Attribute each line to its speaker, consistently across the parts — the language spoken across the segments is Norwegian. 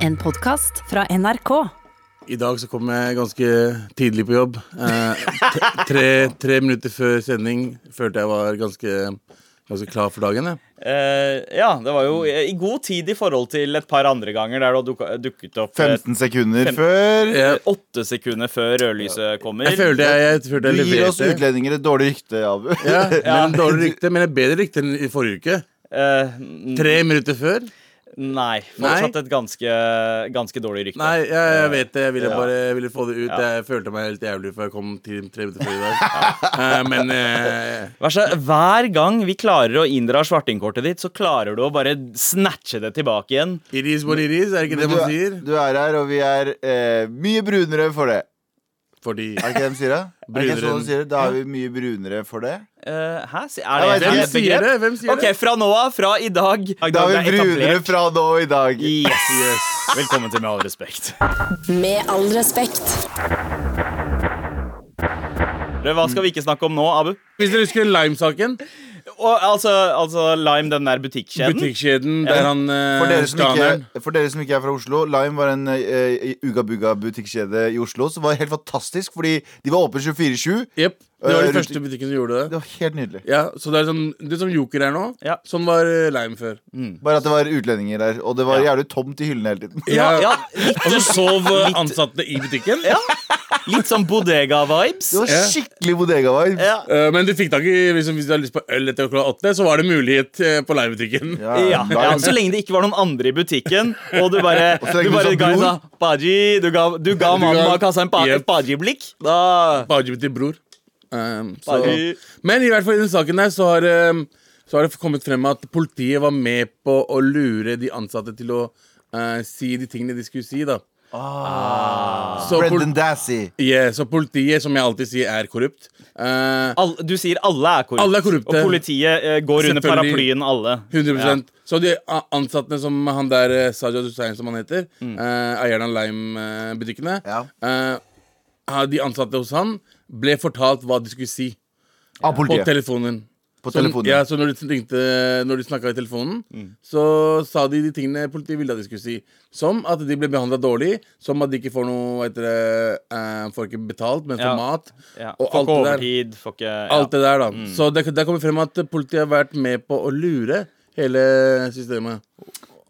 Speaker 1: En podkast fra NRK.
Speaker 2: I dag så kom jeg ganske tidlig på jobb. Eh, t- tre, tre minutter før sending følte jeg var ganske, ganske klar for dagen. Jeg.
Speaker 3: Eh, ja, det var
Speaker 2: Mm.
Speaker 3: jo i god tid i forhold til et par andre ganger der du har dukka- dukket opp eh,
Speaker 4: 15 sekunder
Speaker 3: Fem-
Speaker 4: før.
Speaker 2: Jeg,
Speaker 3: åtte sekunder før rødlyset kommer.
Speaker 2: jeg følte jeg, jeg, følte
Speaker 4: Du
Speaker 2: jeg
Speaker 4: gir oss
Speaker 2: leverte.
Speaker 4: utlendinger et dårlig rykte, Abu.
Speaker 2: Ja, men dårlig rykte, men et bedre rykte enn i forrige uke.
Speaker 3: Eh,
Speaker 2: Tre minutter før?
Speaker 3: nei.
Speaker 2: Nei.
Speaker 3: Fortsatt et ganske, ganske dårlig rykte.
Speaker 2: Nei, jeg, jeg vet det. Jeg ville
Speaker 3: Ja.
Speaker 2: bare jeg ville få det ut. Jeg følte meg helt jævlig før jeg kom til tre minutter før i dag. Eh, men eh,
Speaker 3: Vær så, hver gang vi klarer å inndra svartingkortet ditt, så klarer du å bare snatche det tilbake igjen.
Speaker 2: it is what it is, er det ikke
Speaker 4: Men
Speaker 2: det man
Speaker 4: du,
Speaker 2: sier?
Speaker 4: er- du er her, og vi er eh, mye brunere for det.
Speaker 2: Fordi
Speaker 4: Er det ikke det de sier? da? Er det
Speaker 2: Brunere
Speaker 4: ikke sånn
Speaker 2: enn-
Speaker 4: de sier? Da er vi mye brunere for det.
Speaker 3: Eh, hæ? Si-
Speaker 4: Jeg
Speaker 3: Er
Speaker 4: vet
Speaker 3: det
Speaker 2: Hvem
Speaker 3: et
Speaker 4: ikke.
Speaker 2: sier det?
Speaker 3: begrep?
Speaker 2: Hvem sier
Speaker 3: OK, fra nå av, fra i dag.
Speaker 4: Da er vi
Speaker 3: det er
Speaker 4: brunere
Speaker 3: etablert.
Speaker 4: fra nå i dag.
Speaker 3: Yes.
Speaker 2: Yes.
Speaker 3: Velkommen til Med all respekt.
Speaker 1: Med all respekt.
Speaker 3: Hva skal vi ikke snakke om nå, Abu?
Speaker 2: det? Hvis dere husker Lime-saken?
Speaker 3: Og, altså, altså Lime, den der butikkjeden.
Speaker 2: Butikkjeden der han eh,
Speaker 4: For dere, som
Speaker 2: skaneren-
Speaker 4: ikke, for dere som ikke er fra Oslo, Lime var en eh, uga-buga-butikkjede i Oslo som var helt fantastisk, fordi de var åpne 24-7.
Speaker 2: Jepp. Det var
Speaker 4: Eh,
Speaker 2: den
Speaker 4: rundt-
Speaker 2: første butikken som gjorde det.
Speaker 4: Det var helt nydelig.
Speaker 2: Ja, så det er sånn, det er som Joker er nå.
Speaker 3: Ja.
Speaker 2: Sånn var eh, Lime før.
Speaker 4: Bare at det var utlendinger der, og det var jævlig tomt i hyllene hele tiden.
Speaker 3: Ja, ja,
Speaker 2: Og så sov eh, ansatte i butikken.
Speaker 3: Litt sånn bodega-vibes.
Speaker 4: Det var
Speaker 2: Ja.
Speaker 4: skikkelig bodega-vibe.
Speaker 3: Ja.
Speaker 2: Eh, men du fikk tak i liksom, hvis du hadde lyst på øl etter klokka åtte, så var det mulighet eh, på Lime-butikken.
Speaker 4: Ja,
Speaker 3: Ja,
Speaker 4: da-
Speaker 3: ja, Så lenge det ikke var noen andre i butikken, og du bare,
Speaker 4: så lenge
Speaker 3: du
Speaker 4: du
Speaker 3: bare
Speaker 4: sa
Speaker 3: ga, en
Speaker 4: bror.
Speaker 3: sånn, «Paji», du ga, du ga
Speaker 2: Du
Speaker 3: mannen
Speaker 2: ga-
Speaker 3: bak kassa en pa-
Speaker 2: Yep.
Speaker 3: et paji-blikk, da
Speaker 2: Baji til bror. Um, så.
Speaker 3: Baji.
Speaker 2: Men i hvert fall i den saken der så har, um, så har det kommet frem at politiet var med på å lure de ansatte til å uh, si de tingene de skulle si. da
Speaker 4: Ah.
Speaker 2: så, pol
Speaker 4: Brendan Dassey.
Speaker 2: yeah, så politiet, som jeg alltid sier, er korrupt. Uh,
Speaker 3: all, Du sier alle er korrupte.
Speaker 2: Alle er korrupte.
Speaker 3: Og politiet eh, går under
Speaker 2: Selvfølgelig.
Speaker 3: paraplyen alle.
Speaker 2: 100 Så de a- ansatte som han der eh, Sajad Hussein, som han heter, eh, eieren av Lime-butikkene eh,
Speaker 4: Ja.
Speaker 2: De ansatte hos han ble fortalt hva de skulle si
Speaker 4: Av
Speaker 2: på
Speaker 4: politiet.
Speaker 2: telefonen.
Speaker 4: På
Speaker 2: Så,
Speaker 4: telefonen.
Speaker 2: ja, så når de, ringte, når de snakka i telefonen, så sa de de tingene politiet ville at de skulle si. Som at de ble behandla dårlig, som at de ikke får noe hva heter det, eh, Får ikke betalt, men får
Speaker 3: Ja.
Speaker 2: mat.
Speaker 3: Ja.
Speaker 2: Og
Speaker 3: Får
Speaker 2: alt
Speaker 3: ikke
Speaker 2: det der.
Speaker 3: overtid, får ikke ja. Mm.
Speaker 2: Alt det der da Så det, det kommer frem at politiet har vært med på å lure hele systemet.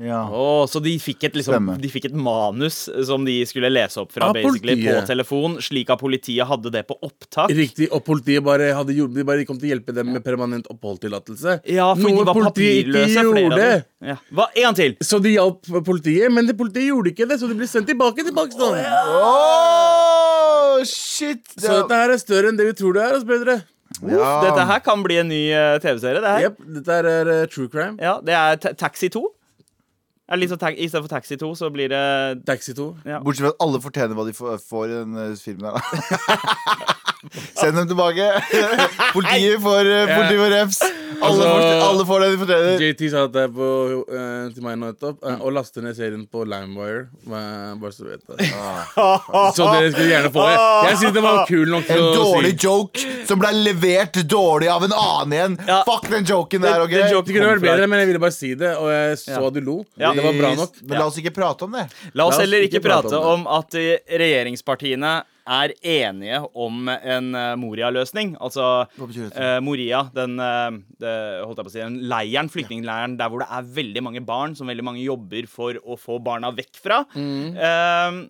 Speaker 4: Ja.
Speaker 3: Å, så de fikk, et, liksom,
Speaker 4: Stemmer.
Speaker 3: de fikk et manus som de skulle lese opp fra
Speaker 2: Av
Speaker 3: basically på
Speaker 2: politiet.
Speaker 3: telefon, slik at politiet hadde det på opptak.
Speaker 2: Riktig, og politiet bare, hadde gjort, de bare kom til å hjelpe dem med permanent oppholdstillatelse.
Speaker 3: Ja, for de
Speaker 2: Noe
Speaker 3: var
Speaker 2: politiet ikke
Speaker 3: papirløse, flere av
Speaker 2: gjorde.
Speaker 3: dem. Ja. Hva, en til!
Speaker 2: Så de hjalp politiet, men det politiet gjorde ikke det, så de ble sendt tilbake til Pakistan.
Speaker 4: Åh, shit! Det
Speaker 2: Så dette her er større enn det vi tror det er. altså, ass, brødre.
Speaker 4: ja.
Speaker 3: Dette her kan bli en ny eh, TV-serie. Det her
Speaker 2: Jep, dette her er eh, true crime.
Speaker 3: ja, Det er ta Taxi 2. Er litt sånn ta I stedet for Taxi 2, så blir det
Speaker 2: Taxi 2.
Speaker 4: Bortsett fra at alle fortjener hva de får, får i den eh, filmen her. da. Send dem tilbake. Politiet får, eh, politiet får refs. Alle,
Speaker 2: Altså,
Speaker 4: får- alle får det de fortjener.
Speaker 2: JT sa at det er på, eh, til meg nå nettopp. eh, og laste ned serien på Limewire. eh, bare så du vet det. Så dere skulle gjerne få det. Jeg synes det var kul nok
Speaker 4: Ah. En
Speaker 2: til å
Speaker 4: dårlig
Speaker 2: si.
Speaker 4: joke som ble levert dårlig av en annen igjen.
Speaker 3: Ja.
Speaker 4: Fuck den joken der. ok?
Speaker 3: den joken
Speaker 2: Det kunne vært
Speaker 3: kom fra-
Speaker 2: bedre, men jeg ville bare si det, og jeg så
Speaker 3: Ja.
Speaker 2: at du lo.
Speaker 3: Ja.
Speaker 2: Det var bra nok.
Speaker 4: Men la oss ikke prate om det.
Speaker 3: La oss
Speaker 2: La oss
Speaker 3: heller ikke
Speaker 2: ikke prate
Speaker 3: prate om
Speaker 2: om
Speaker 3: at eh, regjeringspartiene er enige om en eh, Moria-løsning. Altså
Speaker 4: Hva betyr dette?
Speaker 3: eh, Moria, den eh, det, holdt jeg på å si, den leiren, flyktningleiren der hvor det er veldig mange barn som veldig mange jobber for å få barna vekk fra. Eh,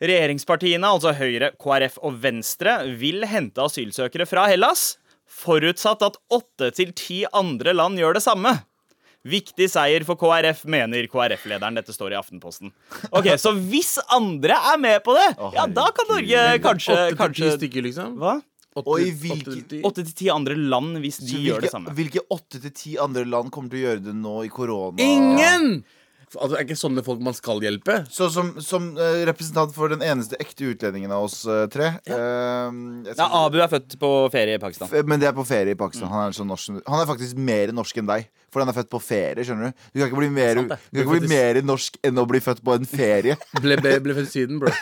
Speaker 3: regjeringspartiene, altså Høyre, KrF og Venstre, vil hente asylsøkere fra Hellas. Forutsatt at åtte til ti andre land gjør det samme. Viktig seier for KrF, mener KrF-lederen. Dette står i Aftenposten. Ok, Så hvis andre er med på det, ja, da kan Norge kanskje,
Speaker 2: Åtte til ti
Speaker 3: kanskje
Speaker 2: stykker, liksom.
Speaker 3: Hva?
Speaker 2: Åtte-
Speaker 4: Og i
Speaker 2: åtte
Speaker 4: hvilken-
Speaker 2: til ti.
Speaker 3: Åtte til ti andre land hvis de gjør det
Speaker 4: Hvilke-
Speaker 3: samme.
Speaker 4: Hvilke åtte til ti andre land kommer til å gjøre det nå i korona?
Speaker 2: Ingen! Altså, det er ikke sånne folk man skal hjelpe.
Speaker 4: Så som, som eh, representant for den eneste ekte utlendingen av oss eh, tre eh, jeg eh,
Speaker 3: Ja,
Speaker 4: skal-
Speaker 3: Abu er født på ferie i Pakistan.
Speaker 2: Mm.
Speaker 4: F- Men det er på ferie i Pakistan. Han er, så norsk, han er faktisk mer norsk enn deg. For den er født på ferie, skjønner du. Du kan ikke bli mer,
Speaker 2: Sant det.
Speaker 4: du kan ikke bli mer norsk enn å bli født på en ferie.
Speaker 2: Ble, ble, ble født i Syden, bro.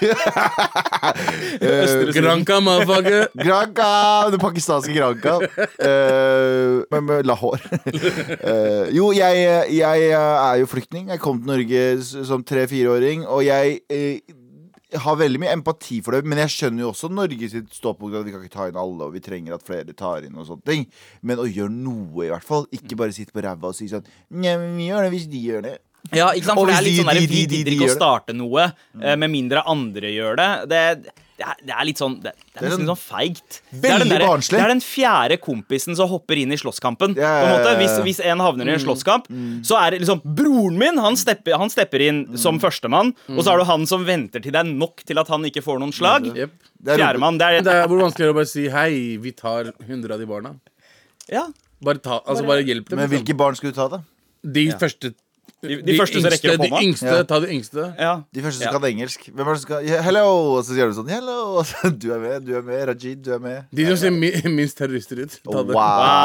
Speaker 4: Eh,
Speaker 2: Granka, motherfucker.
Speaker 4: Granca! Det pakistanske Granca. Eh, men med Lahore. Eh, jo, jeg, jeg er jo flyktning. Jeg kom til Norge s- som tre-fireåring, og jeg eh, har veldig mye empati for det, men jeg skjønner jo også Norge sitt ståpunkt at vi kan ikke ta inn alle, og vi trenger at flere tar inn og sånne ting. Men å gjøre noe, i hvert fall. Ikke bare sitte på ræva og si sånn Nei, men vi gjør det hvis de gjør det.
Speaker 3: Ja, ikke sant?
Speaker 4: Og
Speaker 3: For det er
Speaker 4: hvis
Speaker 3: litt
Speaker 4: de-
Speaker 3: sånn der,
Speaker 4: de-
Speaker 3: Vi
Speaker 4: de- de-
Speaker 3: gidder
Speaker 4: de
Speaker 3: ikke å
Speaker 4: gjør det. Mm.
Speaker 3: starte noe eh, med mindre andre gjør det. Det, det, er, det er litt sånn Det, det er
Speaker 4: er
Speaker 3: nesten
Speaker 4: en-
Speaker 3: sånn feigt. Det er
Speaker 4: Veldig
Speaker 3: den derre-
Speaker 4: barnslig.
Speaker 3: Det er den fjerde kompisen som hopper inn i slåsskampen.
Speaker 4: Ja, ja,
Speaker 3: På en måte,
Speaker 4: ja, ja. Mm.
Speaker 3: hvis, hvis en havner i en slåsskamp, så er det liksom Broren min han stepper, han stepper inn
Speaker 4: Mm.
Speaker 3: som førstemann, og så er det han som venter til det er nok til at han ikke får noen slag.
Speaker 2: Jep.
Speaker 4: Mm. Det er-
Speaker 3: Fjerdemann. Det
Speaker 2: Det
Speaker 3: er
Speaker 2: er hvor vanskelig er det å bare si hei, vi tar 100 av de barna.
Speaker 3: Ja.
Speaker 2: Bare, ta, altså bare hjelp dem.
Speaker 4: Men hvilke barn skulle du ta, da?
Speaker 2: De første
Speaker 3: De, de, første som rekker
Speaker 2: yngste,
Speaker 3: opp
Speaker 2: de
Speaker 3: hånda.
Speaker 2: yngste,
Speaker 4: Ja.
Speaker 2: Ta de yngste.
Speaker 3: Ja.
Speaker 4: De første som
Speaker 3: Ja.
Speaker 4: kan engelsk. Hvem er det som skal yeah, Hello! Og så sier du sånn Hello! Og så, du er med, du er med, Rajid, du er med.
Speaker 2: De som ser mi, minst terrorister ut. Ta det.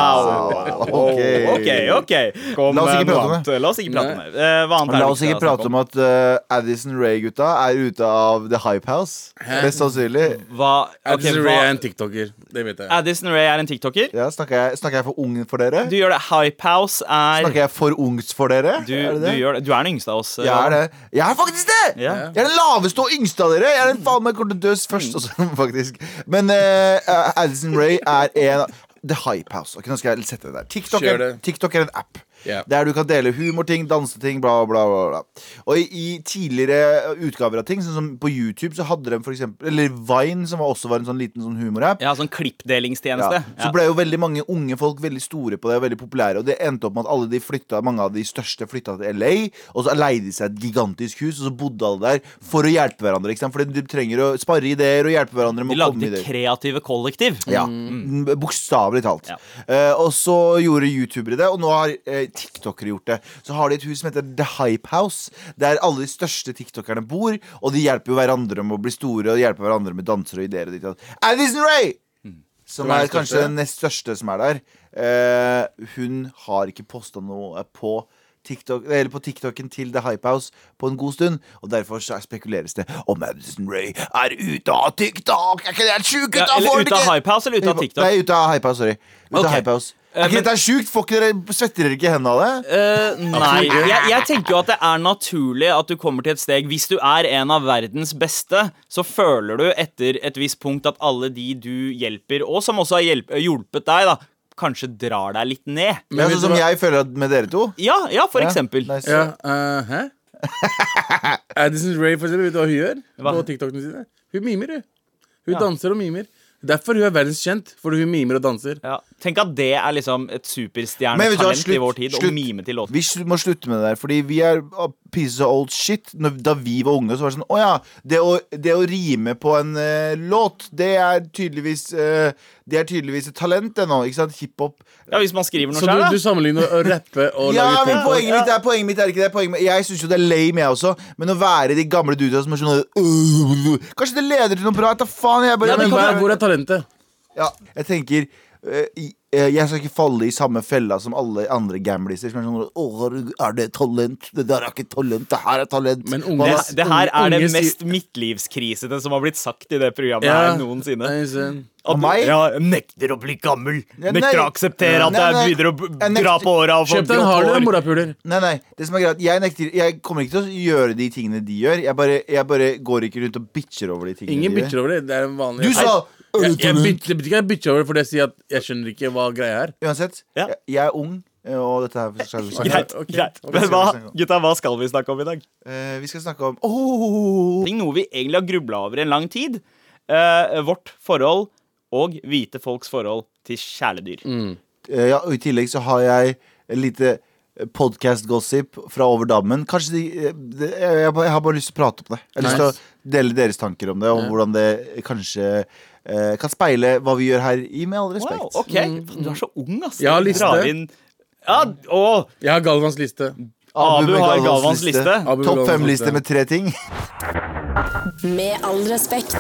Speaker 4: Wow. Ok.
Speaker 3: OK, OK. Kom,
Speaker 4: La oss ikke
Speaker 3: eh, noe
Speaker 4: prate om
Speaker 3: annet. La oss ikke prate om
Speaker 2: Nei.
Speaker 3: det. Eh, hva annet
Speaker 4: Men
Speaker 3: er
Speaker 4: la
Speaker 3: det
Speaker 4: oss
Speaker 3: vi
Speaker 4: ikke
Speaker 3: skal snakke
Speaker 4: prate om at
Speaker 3: altså.
Speaker 4: eh, Addison Ray-gutta er ute av The Hype House. Mest sannsynlig.
Speaker 3: Hva, ok,
Speaker 2: Addison Rae
Speaker 3: hva
Speaker 2: er en tiktoker. Det vet jeg.
Speaker 3: Addison Rae er en tiktoker.
Speaker 4: Ja, snakker, jeg, snakker jeg for ung for dere?
Speaker 3: Du gjør det. Hype House er
Speaker 4: Snakker jeg for ungt for dere?
Speaker 3: du,
Speaker 4: er det
Speaker 3: du
Speaker 4: det?
Speaker 3: gjør det. Du er den yngste av oss. eh,
Speaker 4: Jeg er det. Jeg er faktisk det!
Speaker 3: Ja.
Speaker 4: Jeg er den laveste og yngste av dere. Jeg er den faen meg kommer til å dø først.
Speaker 2: Mm.
Speaker 4: Også, faktisk. Men eh, Addison Ray er en av The Hype House. Ok, nå skal jeg sette det der. TikTok,
Speaker 2: Kjør
Speaker 4: er,
Speaker 2: det.
Speaker 4: TikTok er en app.
Speaker 2: Ja.
Speaker 4: Der du kan dele humorting, danseting, bla, bla, bla. bla. Og i, i tidligere utgaver av ting, sånn som på YouTube, så hadde de for eksempel Eller Vine, som også var en sånn liten sånn humorapp.
Speaker 3: Jeg har sånn klippdelingstjeneste.
Speaker 4: Ja. Så ble jo veldig mange unge folk veldig store på det, og veldig populære. Og det endte opp med at alle de flytta, mange av de største flytta til LA, og så leide de seg et gigantisk hus, og så bodde alle der for å hjelpe hverandre. Ikke sant? Fordi du trenger å spare ideer og hjelpe hverandre
Speaker 3: De
Speaker 4: med å komme
Speaker 3: lagde
Speaker 4: ideer.
Speaker 3: kreative kollektiv.
Speaker 4: Ja, mm. Bokstavelig talt.
Speaker 3: Ja.
Speaker 4: Eh, og så gjorde youtubere det, og nå har eh, tiktokere gjort det. Så har de et hus som heter The Hype House, der alle de største tiktokerne bor. Og de hjelper jo hverandre med å bli store og hjelper hverandre med danser og ideer. Og ditt og datt. Addison Rae!
Speaker 3: Mm.
Speaker 4: Som
Speaker 2: Som er den
Speaker 4: er
Speaker 2: største.
Speaker 4: kanskje den nest største som er der. Eh, hun har ikke posta noe på TikTok, eller på TikToken til The Hype House på en god stund. Og derfor så spekuleres det om Addison Raye er ute av TikTok! Er ikke det helt sjukt?
Speaker 3: Ja,
Speaker 4: gutta? Får
Speaker 3: eller
Speaker 4: dere
Speaker 3: ut av
Speaker 4: ikke-
Speaker 3: Hype House eller ut av TikTok?
Speaker 4: Nei, ut av Hypehouse, sorry. Ut
Speaker 3: Ok.
Speaker 4: av Hypehouse.
Speaker 3: Eh,
Speaker 4: Er ikke
Speaker 3: men-
Speaker 4: dette sjukt? Får ikke dere, svetter dere ikke i hendene av det?
Speaker 3: Eh, nei. Jeg, jeg tenker jo at det er naturlig at du kommer til et steg Hvis du er en av verdens beste, så føler du etter et visst punkt at alle de du hjelper, og som også har hjelp, hjulpet deg, da kanskje drar deg litt ned.
Speaker 4: Det er sånn som jeg føler at med dere to.
Speaker 3: Ja, ja for
Speaker 4: Ja,
Speaker 3: eksempel.
Speaker 4: nice.
Speaker 2: Ja, eh, hæ? Addison Rae, for eksempel, vet du hva hun gjør
Speaker 3: Hva?
Speaker 2: på TikTokene sine? Hun mimer, hun. Hun
Speaker 3: Ja.
Speaker 2: danser og mimer. Derfor hun er verdenskjent, fordi hun mimer og danser.
Speaker 3: Ja. Tenk at det er liksom et
Speaker 4: Men vet du hva,
Speaker 3: superstjernetalent i
Speaker 4: slutt,
Speaker 3: vår tid. Å
Speaker 4: slutt.
Speaker 3: mime til låter.
Speaker 4: Vi sl- må slutte med det der, fordi vi er a piece of old shit. Når, da vi var unge, så var det sånn Å ja, det å, det å rime på en eh, låt, det er tydeligvis eh, Det er tydeligvis et talent, det nå. Ikke sant? Hiphop.
Speaker 3: Ja, Hvis man skriver noe
Speaker 2: Så du,
Speaker 3: selv
Speaker 2: du
Speaker 3: da.
Speaker 2: sammenligner å rappe og
Speaker 4: Ja,
Speaker 2: lage
Speaker 4: men
Speaker 2: TikTok?
Speaker 4: poenget mitt er, poenget mitt er ikke det. Poenget mitt, jeg syns jo det er lame, jeg også. Men å være de gamle dudene som er sånn øh, Kanskje det leder til noe bra? Ta faen, jeg bare
Speaker 2: Nei, men
Speaker 4: Kan
Speaker 2: hva,
Speaker 4: du-
Speaker 2: Hvor er talentet?
Speaker 4: Ja, jeg tenker eh, i- eh, jeg skal ikke falle i samme fella som alle andre gambliser. Som er sånn, Åh, har du- er det talent? Det der er ikke talent, det her er talent.
Speaker 2: Men unge-
Speaker 4: Hva
Speaker 3: Det,
Speaker 4: da?
Speaker 2: Unge-
Speaker 3: det her er det
Speaker 2: unge sier-
Speaker 3: mest midtlivskrisete som har blitt sagt i det programmet her noensinne.
Speaker 2: Nei, sånn.
Speaker 3: At
Speaker 4: Av
Speaker 3: du-
Speaker 4: meg?
Speaker 3: Ja, nekter å bli gammel.
Speaker 4: Ja, nei.
Speaker 3: Nekter å akseptere at
Speaker 4: Nei,
Speaker 3: jeg
Speaker 4: nei.
Speaker 3: begynner å b-
Speaker 4: Jeg nekter-
Speaker 3: dra på åra og få
Speaker 2: Kjøp deg en
Speaker 3: grått
Speaker 2: Harley, da,
Speaker 3: hår.
Speaker 2: morapuler.
Speaker 4: Nei, nei, det som er greit Jeg, nekter, jeg kommer ikke til å gjøre de tingene de gjør. Jeg bare, jeg bare går ikke rundt og bitcher over de tingene
Speaker 2: Ingen
Speaker 4: de
Speaker 2: bitcher
Speaker 4: gjør.
Speaker 2: over det. Det er en vanlig
Speaker 4: Du sa
Speaker 2: Jeg,
Speaker 4: «Er det
Speaker 2: jeg,
Speaker 4: talent?»
Speaker 2: bitcher, det betyr ikke at jeg bitcher over det fordi jeg sier at jeg skjønner ikke hva greia er.
Speaker 4: Uansett,
Speaker 3: Ja.
Speaker 4: jeg, jeg er ung, eh, og dette her skal vi snakke om.
Speaker 3: Greit,
Speaker 2: Ok,
Speaker 3: greit.
Speaker 2: ok.
Speaker 3: Men hva, gutta, hva skal vi snakke om i dag?
Speaker 4: Eh, vi skal snakke om Åh!
Speaker 3: Ting Noe vi egentlig har grubla over i en lang tid. Eh, vårt forhold og hvite folks forhold til kjæledyr.
Speaker 4: Eh, ja, og I tillegg så har jeg et lite eh, podcast-gossip fra Over dammen. Kanskje de, eh, det- jeg, jeg, bare- jeg har bare lyst til å prate om det. Jeg har lyst til
Speaker 2: Nice.
Speaker 4: å dele deres tanker om det, og hvordan det kanskje eh, kan speile hva vi gjør her i Med all respekt.
Speaker 3: Wow, ok Faen, Du er så ung, ass.
Speaker 2: Jeg har
Speaker 3: Du drar
Speaker 2: liste.
Speaker 3: inn- Ja, å,
Speaker 2: Jeg har Galvans liste.
Speaker 3: Abu
Speaker 4: med
Speaker 3: har
Speaker 4: Galvans
Speaker 3: Galvans liste.
Speaker 2: Abu med
Speaker 4: Topp
Speaker 2: Galvans
Speaker 4: fem-liste
Speaker 2: liste.
Speaker 4: med tre ting.
Speaker 1: Med all respekt.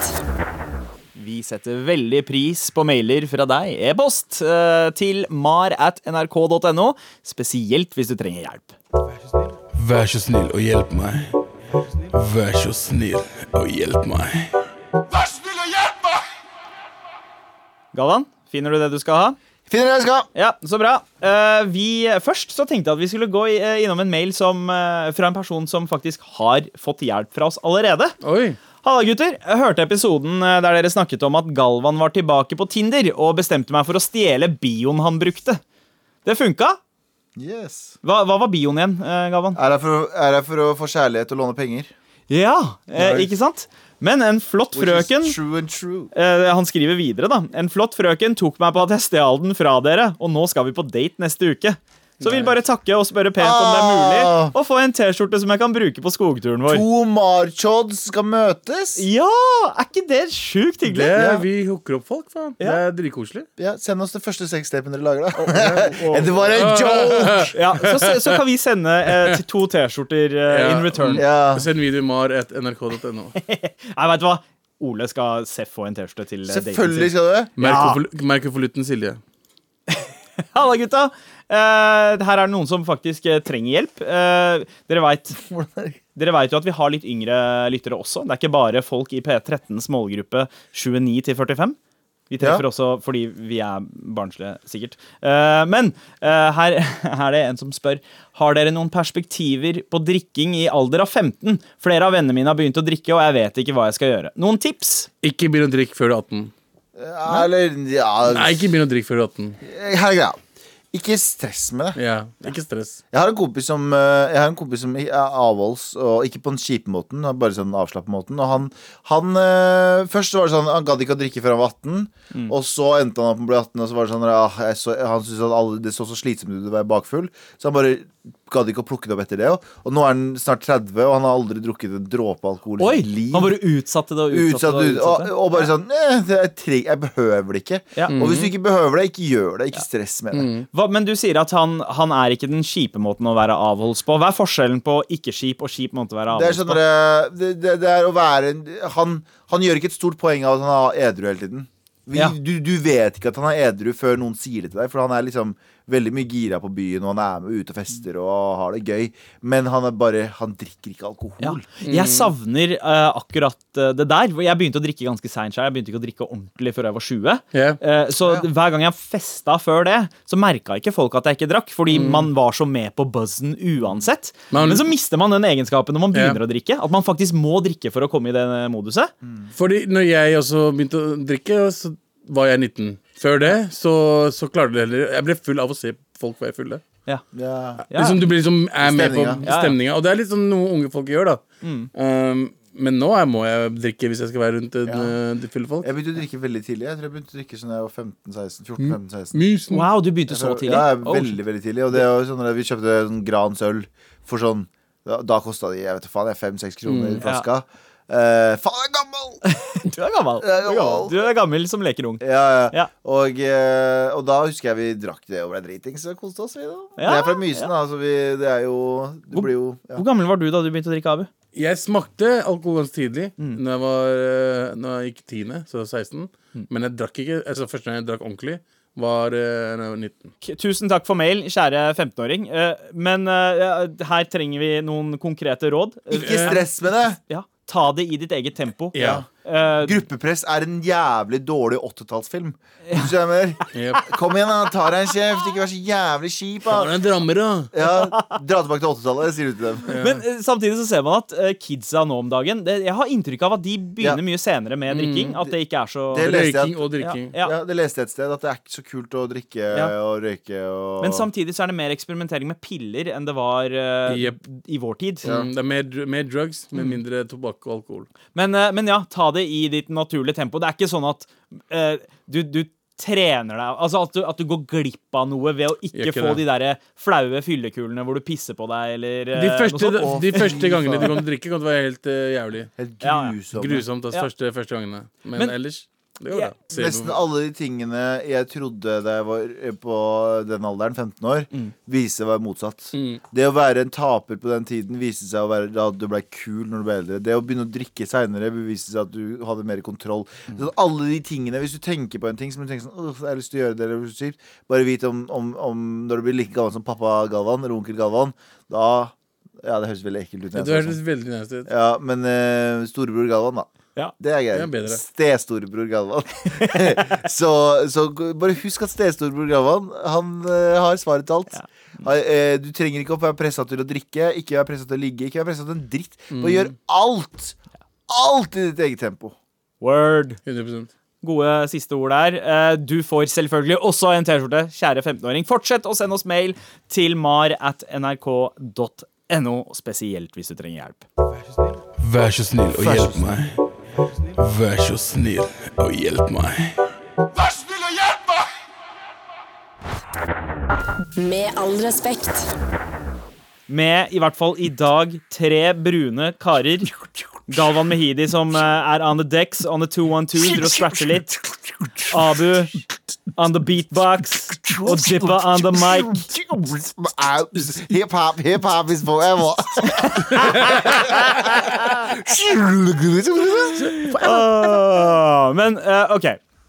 Speaker 3: Vi setter veldig pris på mailer fra deg, e-post, eh, til mar at nrk.no, spesielt hvis du trenger hjelp.
Speaker 2: Vær så snill og hjelp meg. Vær så snill og hjelp meg.
Speaker 3: Galvan, finner du det du skal ha?
Speaker 4: Finner det jeg skal!
Speaker 3: Ja, så bra. Eh, vi, først så tenkte jeg at vi skulle gå i, eh, innom en mail som, eh, fra en person som faktisk har fått hjelp fra oss allerede.
Speaker 2: Oi.
Speaker 3: Halla, gutter. Jeg hørte episoden eh, der dere snakket om at Galvan var tilbake på Tinder og bestemte meg for å stjele bioen han brukte. Det funka.
Speaker 4: Yes.
Speaker 3: Hva, hva var bioen igjen, eh, Galvan?
Speaker 4: Er her, for, å- er her for å få kjærlighet og låne penger.
Speaker 3: Ja, eh, ikke sant? Men en flott
Speaker 4: Which is
Speaker 3: frøken
Speaker 4: True and true.
Speaker 3: Eh, han skriver videre, da. En flott frøken tok meg på at jeg stjal den fra dere, og nå skal vi på date neste uke. Så vil bare takke og spørre pent om det er
Speaker 4: Ah.
Speaker 3: mulig å få en T-skjorte som jeg kan bruke på skogturen vår.
Speaker 4: To marchods skal møtes.
Speaker 3: Ja! Er ikke det sjukt
Speaker 2: Det,
Speaker 3: hyggelig?
Speaker 2: Vi hooker opp folk, faen. Det
Speaker 3: Ja.
Speaker 2: er dritkoselig.
Speaker 4: Ja, send oss det første sextapen dere lager, da. det var en joke!
Speaker 3: Ja, så, så- så kan vi sende eh, til to T-skjorter eh,
Speaker 2: Ja.
Speaker 3: in return.
Speaker 4: Ja.
Speaker 2: Send video mar at nrk.no.
Speaker 3: Nei, vet du hva? Ole skal seff få en T-skjorte til eh, daten sin.
Speaker 4: Selvfølgelig skal du det.
Speaker 2: Merk
Speaker 3: Ja.
Speaker 2: konvol- Merk konvolutten, Silje.
Speaker 3: Halla, gutta! Eh, her er det noen som faktisk eh, trenger hjelp. Eh, dere veit Dere vet jo at vi har litt yngre lyttere også. Det er ikke bare folk i P13s målgruppe 29 til 45. Vi treffer
Speaker 4: Ja.
Speaker 3: også fordi vi er barnslige, sikkert. Eh, men eh, her er det en som spør Har dere noen perspektiver på drikking i alder av 15. Flere av vennene mine har begynt å drikke, og jeg vet ikke hva jeg skal gjøre. Noen tips?
Speaker 2: Ikke begynn å drikke før du er 18.
Speaker 4: Eller ja
Speaker 2: Nei, ikke begynn å drikke før du er 18.
Speaker 4: Her er greia. Ikke stress med det.
Speaker 2: Ja, ikke stress.
Speaker 4: Jeg har en kompis som, eh, jeg har en kompis som er avholds, og ikke på den kjipe måten, men bare sånn avslappet måten. Og han, han eh, Først så var det sånn han gadd ikke å drikke før han var 18, og så endte han opp med å bli 18, og så var det sånn ah, jeg så, Han syntes at alle, det så så slitsomt ut å være bakfull, så han bare gadd ikke å plukke det opp etter det. Og, og nå er han snart 30, og han har aldri drukket en dråpe alkohol
Speaker 3: Oi!
Speaker 4: i sitt liv.
Speaker 3: Man bare utsatte det og utsatte
Speaker 4: Utsatt,
Speaker 3: det.
Speaker 4: ut, og, og bare sånn «Eh, det er trygg, Jeg behøver det ikke.
Speaker 3: Ja. Mm.
Speaker 4: Og hvis du ikke behøver det, ikke gjør det. Ikke stress med det.
Speaker 3: Hva, men du sier at han, han er ikke den kjipe måten å være avholds på. Hva er forskjellen på ikke-skip og skip måte å være
Speaker 4: Det er
Speaker 3: avholds
Speaker 4: sånn
Speaker 3: på?
Speaker 4: derre- det, det, det er å være en, han, han gjør ikke et stort poeng av at han er edru hele tiden. Vi,
Speaker 3: Ja.
Speaker 4: du, du vet ikke at han er edru før noen sier det til deg, for han er liksom veldig mye gira på byen, og han er med ute og fester og har det gøy, men han er bare Han drikker ikke alkohol.
Speaker 3: Ja. Jeg savner eh, akkurat eh, det der. hvor Jeg begynte å drikke ganske seint. Jeg begynte ikke å drikke ordentlig før jeg var 20.
Speaker 2: Ja.
Speaker 3: Eh, så hver gang jeg festa før det, så merka ikke folk at jeg ikke drakk. Fordi man var så med på buzzen uansett.
Speaker 2: Men-
Speaker 3: Men, så mister man den egenskapen når man
Speaker 2: Ja.
Speaker 3: begynner å drikke. At man faktisk må drikke for å komme i det moduset.
Speaker 2: Fordi når jeg også begynte å drikke, så var jeg 19. Før det så, så klarte jeg det heller Jeg ble full av å se folk være fulle.
Speaker 3: Ja.
Speaker 4: Ja.
Speaker 3: Ja.
Speaker 2: Liksom Du blir liksom er med på
Speaker 4: Stemninga.
Speaker 3: Ja, ja.
Speaker 2: stemninga. Og det er litt sånn noe unge folk gjør, da.
Speaker 3: Mm.
Speaker 2: Um, men nå er, må jeg drikke hvis jeg skal være rundt eh, de fulle folk.
Speaker 4: Jeg begynte å drikke veldig tidlig. Jeg tror jeg begynte å drikke sånn da jeg var 15-16.
Speaker 3: Mm.
Speaker 4: 14-15-16
Speaker 2: Mysen.
Speaker 3: Wow, du begynte så tidlig.
Speaker 4: Ja,
Speaker 3: Oh,
Speaker 4: veldig, veldig tidlig. Og det er jo sånn at vi kjøpte sånn Grans øl for sånn Da, da kosta de jeg vet ikke faen, jeg, fem-seks
Speaker 3: Mm,
Speaker 4: kroner i flaska. Eh, faen, jeg er gammel!
Speaker 3: Du er gammel. Du
Speaker 4: Jeg
Speaker 3: er
Speaker 4: er
Speaker 3: gammel,
Speaker 4: gammel.
Speaker 3: du er gammel som leker ung.
Speaker 4: Ja, ja.
Speaker 3: Ja.
Speaker 4: Og, eh, og da husker jeg vi drakk det og ble dritings og koste oss. Vi, da.
Speaker 3: Ja,
Speaker 4: jeg er fra Mysen, da, så vi, det er jo Det blir jo ja.
Speaker 3: Hvor gammel var du da du begynte å drikke, Abu?
Speaker 2: Jeg smakte alkohol ganske tidlig,
Speaker 3: Mm.
Speaker 2: Når jeg var eh, Når jeg gikk tiende, så 16.
Speaker 3: Mm.
Speaker 2: Men jeg drakk ikke altså Første gang jeg drakk ordentlig, var eh, når jeg var 19.
Speaker 3: Tusen takk for mail, kjære 15-åring. Eh, Men eh, her trenger vi noen konkrete råd. Eh,
Speaker 4: Ikke stress med det!
Speaker 3: Ja, ta det i ditt eget tempo.
Speaker 2: Ja.
Speaker 3: Eh,
Speaker 4: Gruppepress er en jævlig dårlig åttetallsfilm. Hvis du skjønner.
Speaker 2: Yep.
Speaker 4: Kom igjen, da. Ta deg en kjeft. Ikke vær så jævlig kjip.
Speaker 2: Faen,
Speaker 4: Da.
Speaker 2: jeg drammer, da!
Speaker 4: Ja, dra tilbake til 80-tallet, sier du til dem.
Speaker 3: Men eh, samtidig så ser man at eh, kidsa nå om dagen det, Jeg har inntrykk av at de begynner
Speaker 4: Ja.
Speaker 3: mye senere med drikking. At det ikke er så
Speaker 4: Det leste jeg at-
Speaker 2: Røyking og drikking.
Speaker 3: ja, ja.
Speaker 4: Ja, Det leste jeg et sted, at det er ikke så kult å drikke
Speaker 3: Ja.
Speaker 4: og røyke. Og...
Speaker 3: Men samtidig så er det mer eksperimentering med piller enn det var eh,
Speaker 2: Jep.
Speaker 3: i vår tid.
Speaker 2: Mm, det er mer, dr- mer drugs,
Speaker 3: Mm.
Speaker 2: men mindre tobakk og alkohol.
Speaker 3: Men, eh, men ja, ta det i ditt naturlige tempo. Det er ikke sånn at eh, du, du trener deg Altså at du, at du går glipp av noe ved å ikke,
Speaker 2: Gjør ikke
Speaker 3: få
Speaker 2: det.
Speaker 3: de derre flaue fyllekulene hvor du pisser på deg, eller eh,
Speaker 2: De første,
Speaker 3: noe sånt.
Speaker 2: de
Speaker 4: Å,
Speaker 2: første
Speaker 4: fy
Speaker 2: gangene du
Speaker 4: faen.
Speaker 2: kom til å drikke, kom til å være helt eh, jævlig.
Speaker 4: Helt
Speaker 3: Ja, ja.
Speaker 4: grusomme.
Speaker 2: Grusomt. Altså,
Speaker 3: Ja.
Speaker 2: første, første gangene. Men,
Speaker 3: Men-
Speaker 2: ellers Det går bra. Se på-
Speaker 4: Nesten alle de tingene jeg trodde da jeg var eh, på den alderen, 15 år,
Speaker 3: Mm.
Speaker 4: viste seg å være motsatt. Det å være en taper på den tiden viste seg å være da at du ble kul når du ble eldre. Det å begynne å drikke seinere viste seg at du hadde mer kontroll.
Speaker 3: Mm.
Speaker 4: Så alle de tingene, Hvis du tenker på en ting som du tenker sånn Åh, jeg har lyst til å gjøre det, eller det er kjipt, bare vit om, om, om når du blir like gammel som pappa Galvan eller onkel Galvan, da Ja, det høres veldig ekkelt ut. når jeg
Speaker 2: Du
Speaker 4: sier
Speaker 2: høres
Speaker 4: sånn.
Speaker 2: veldig nærmest ut.
Speaker 4: Ja, men eh, storebror Galvan, da.
Speaker 3: Ja.
Speaker 4: Det er
Speaker 2: Det er
Speaker 4: gøy.
Speaker 2: bedre.
Speaker 4: Stestorebror Galvan. så, så g- bare husk at stestorebror Galvan Han eh, har svaret til alt. Han, eh, du trenger ikke å være pressa til å drikke, ikke være pressa til å ligge, ikke være pressa til en dritt. Bare
Speaker 3: Mm.
Speaker 4: gjør alt! Alt i ditt eget tempo.
Speaker 3: Word.
Speaker 2: 100
Speaker 3: Gode siste ord der. Eh, Du får selvfølgelig også en T-skjorte, kjære 15-åring. Fortsett å sende oss mail til mar at nrk.no, spesielt hvis du trenger hjelp.
Speaker 2: Vær så snill og hjelp meg. Vær så snill og hjelp meg.
Speaker 1: Med all respekt.
Speaker 3: Med i hvert fall i dag tre brune karer. Galvan Mehidi som eh, er on the decks, on the 212, driver og scratcher litt. Abu on the beatbox. Og Jippa on the mic.
Speaker 4: Hiphop, hiphop is forever.
Speaker 3: Åh, men eh, OK.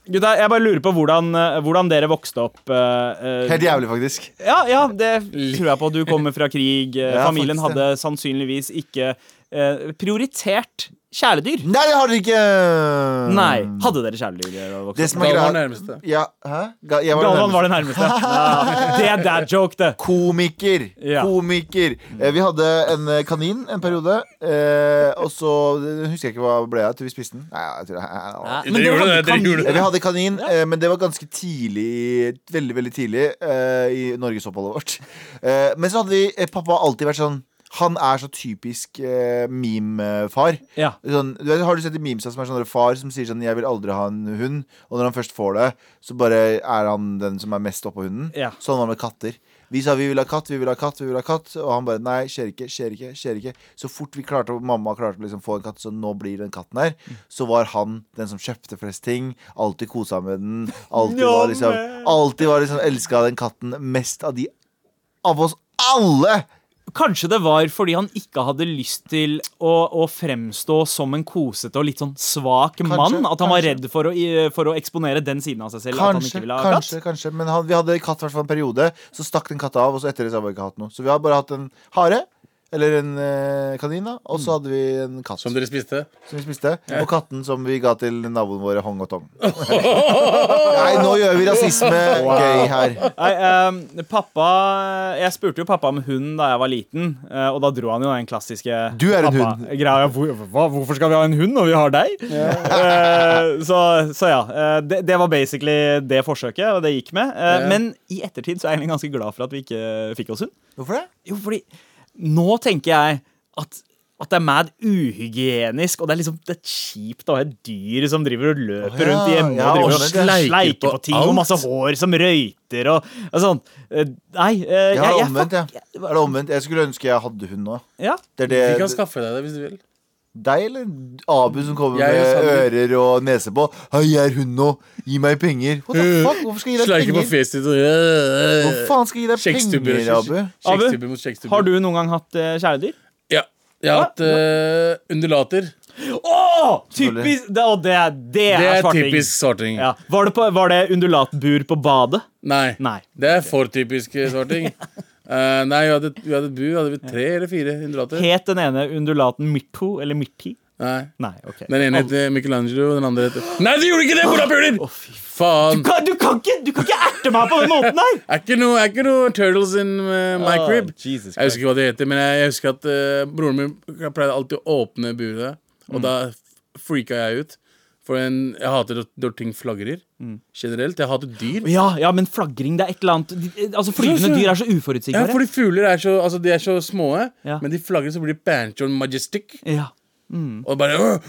Speaker 3: Gutta, jeg bare lurer på hvordan, eh, hvordan dere vokste opp. eh, eh,
Speaker 4: Helt jævlig, faktisk.
Speaker 3: Ja, ja, det tror jeg på. Du kommer fra krig. Eh,
Speaker 4: Ja,
Speaker 3: Familien
Speaker 4: faktisk det.
Speaker 3: hadde sannsynligvis ikke eh, prioritert kjæledyr.
Speaker 4: Nei, jeg har det ikke.
Speaker 3: Nei. Hadde dere kjæledyr? da dere vokste
Speaker 4: Det
Speaker 3: opp?
Speaker 4: som er
Speaker 2: Galvan var
Speaker 4: greia
Speaker 2: nærmeste.
Speaker 4: ja, Hæ? Ga- Jeg var den
Speaker 3: Galvan
Speaker 4: nærmeste.
Speaker 3: var det nærmeste. Ja. Det er dad joke, det.
Speaker 4: Komiker.
Speaker 3: Ja.
Speaker 4: Komiker. Eh, vi hadde en eh, kanin en periode, eh, og så eh, husker jeg ikke hva ble av til vi spiste den. Nei, jeg tror jeg, jeg, jeg,
Speaker 2: Dere gjorde det, dere gjorde
Speaker 4: Eh,
Speaker 2: det.
Speaker 4: Vi hadde kanin, eh, men det var ganske tidlig Veldig, veldig tidlig eh, i norgesoppholdet vårt. Eh, Men så hadde vi eh, Pappa har alltid vært sånn Han er så typisk eh, meme-far.
Speaker 3: Ja.
Speaker 4: Sånn, du vet, har du sett de memesa som er sånn der far som sier sånn 'Jeg vil aldri ha en hund', og når han først får det, så bare er han den som er mest oppå hunden?
Speaker 3: Ja.
Speaker 4: Sånn var det med katter. Vi sa 'vi vil ha katt, vi vil ha katt', vi vil ha katt og han bare 'nei, skjer ikke, skjer ikke'. skjer ikke Så fort vi klarte å- mamma klarte å liksom få en katt, så nå blir den katten her, så var han den som kjøpte flest ting. Alltid kosa med den. Alltid var liksom, alltid var liksom elska den katten mest av de av oss alle.
Speaker 3: Kanskje det var fordi han ikke hadde lyst til å, å fremstå som en kosete og litt sånn svak mann. At han var
Speaker 4: kanskje.
Speaker 3: redd for å, i- for å eksponere den siden av seg selv. at han
Speaker 4: Kanskje,
Speaker 3: ikke ville ha
Speaker 4: kanskje, kanskje. Men han, vi hadde katt hvertfall en periode. Så stakk den katta av, og så etter det så har vi ikke hatt noe. Så vi har bare hatt en hare. Eller en eh, kanin, da. Og
Speaker 3: Mm.
Speaker 4: så hadde vi en katt
Speaker 2: Som
Speaker 4: som,
Speaker 2: dere spiste.
Speaker 4: vi spiste. Og katten som vi ga til naboene våre, Hong og Tong. Nei, nå gjør vi rasisme gøy her.
Speaker 3: katt. Nei, eh, pappa Jeg spurte jo pappa om hund da jeg var liten, eh, og da dro han jo den klassiske
Speaker 4: Du er en
Speaker 3: pappa-
Speaker 4: hund.
Speaker 3: greia, hvor, hva, Hvorfor skal vi ha en hund når vi har deg? Eh, så, så ja. eh, det, det var basically det forsøket, og det gikk med. Eh,
Speaker 2: Ja.
Speaker 3: Men i ettertid så er jeg egentlig ganske glad for at vi ikke fikk oss hund.
Speaker 4: Hvorfor det?
Speaker 3: Jo, fordi nå tenker jeg at, at det er mad uhygienisk, og det er liksom det er kjipt å ha et dyr som driver og løper
Speaker 4: Å, ja.
Speaker 3: rundt hjemme
Speaker 4: Ja,
Speaker 3: og driver
Speaker 4: og
Speaker 3: og
Speaker 2: sleiker
Speaker 3: sleiker,
Speaker 2: på
Speaker 3: på ting,
Speaker 2: alt.
Speaker 3: og masse hår som røyter og, og sånn. Eh, Nei, eh,
Speaker 4: Jeg
Speaker 3: jeg,
Speaker 4: har det
Speaker 3: jeg,
Speaker 4: omvendt,
Speaker 3: fuck-
Speaker 4: jeg. Er det omvendt? Jeg skulle ønske jeg hadde hund nå.
Speaker 3: ja.
Speaker 4: Det er
Speaker 2: Vi kan
Speaker 4: det
Speaker 2: skaffe deg det hvis du vil.
Speaker 4: deg eller Abu som kommer
Speaker 2: Jeg er
Speaker 4: med
Speaker 2: sammen.
Speaker 4: ører og nese på? Hei, jeg er hund nå. Gi meg penger. What
Speaker 3: Øh,
Speaker 4: the fuck? Hvorfor skal jeg gi deg
Speaker 2: Sleike på
Speaker 4: penger?
Speaker 2: fjeset ditt
Speaker 4: Hvor
Speaker 2: og
Speaker 4: faen skal jeg gi deg
Speaker 2: Kjekkstubber
Speaker 4: penger, Abu?
Speaker 2: Eh, kjekkstubber mot kjekkstubber.
Speaker 3: Har du noen gang hatt eh, kjæledyr?
Speaker 2: Ja. Jeg har hatt eh, undulater.
Speaker 3: Å! Typisk! Det, og det, det
Speaker 2: Det
Speaker 3: er
Speaker 2: er
Speaker 3: svarting.
Speaker 2: typisk svarting.
Speaker 3: Ja. Var, det på, var det undulatbur på badet?
Speaker 2: Nei.
Speaker 3: Nei.
Speaker 2: Det er for typisk eh, svarting. Eh, nei, vi hadde, vi hadde et bur. Hadde vi tre eller fire undulater?
Speaker 3: Het den ene undulaten Mirto eller Mirti?
Speaker 2: Nei.
Speaker 3: Nei, ok.
Speaker 2: Den ene het eh, Michelangelo, den andre het Nei, du gjorde ikke det! Morapuler! Faen.
Speaker 3: Ka- Du kan, ikke, du kan ikke erte meg på den måten her!
Speaker 2: Er ikke noe, er ikke noe turtles in eh, my
Speaker 3: Åh,
Speaker 2: crib.
Speaker 3: Jesus
Speaker 2: jeg husker ikke hva det heter, men jeg, jeg husker at eh, broren min pleide alltid å åpne buret,
Speaker 3: Mm.
Speaker 2: og da f- freaka jeg ut. For en, jeg hater når- når ting flagrer generelt. Jeg hater dyr.
Speaker 3: Mm. Ja, ja, men flagring, det er et eller annet de- Altså, Flyvende dyr er så
Speaker 2: Ja,
Speaker 3: uforutsigbare.
Speaker 2: fordi fugler er så, altså, de er så små,
Speaker 3: Ja.
Speaker 2: men de flagrer, så blir de banjo majestic.
Speaker 3: Ja. Mm.
Speaker 2: Og bare øh,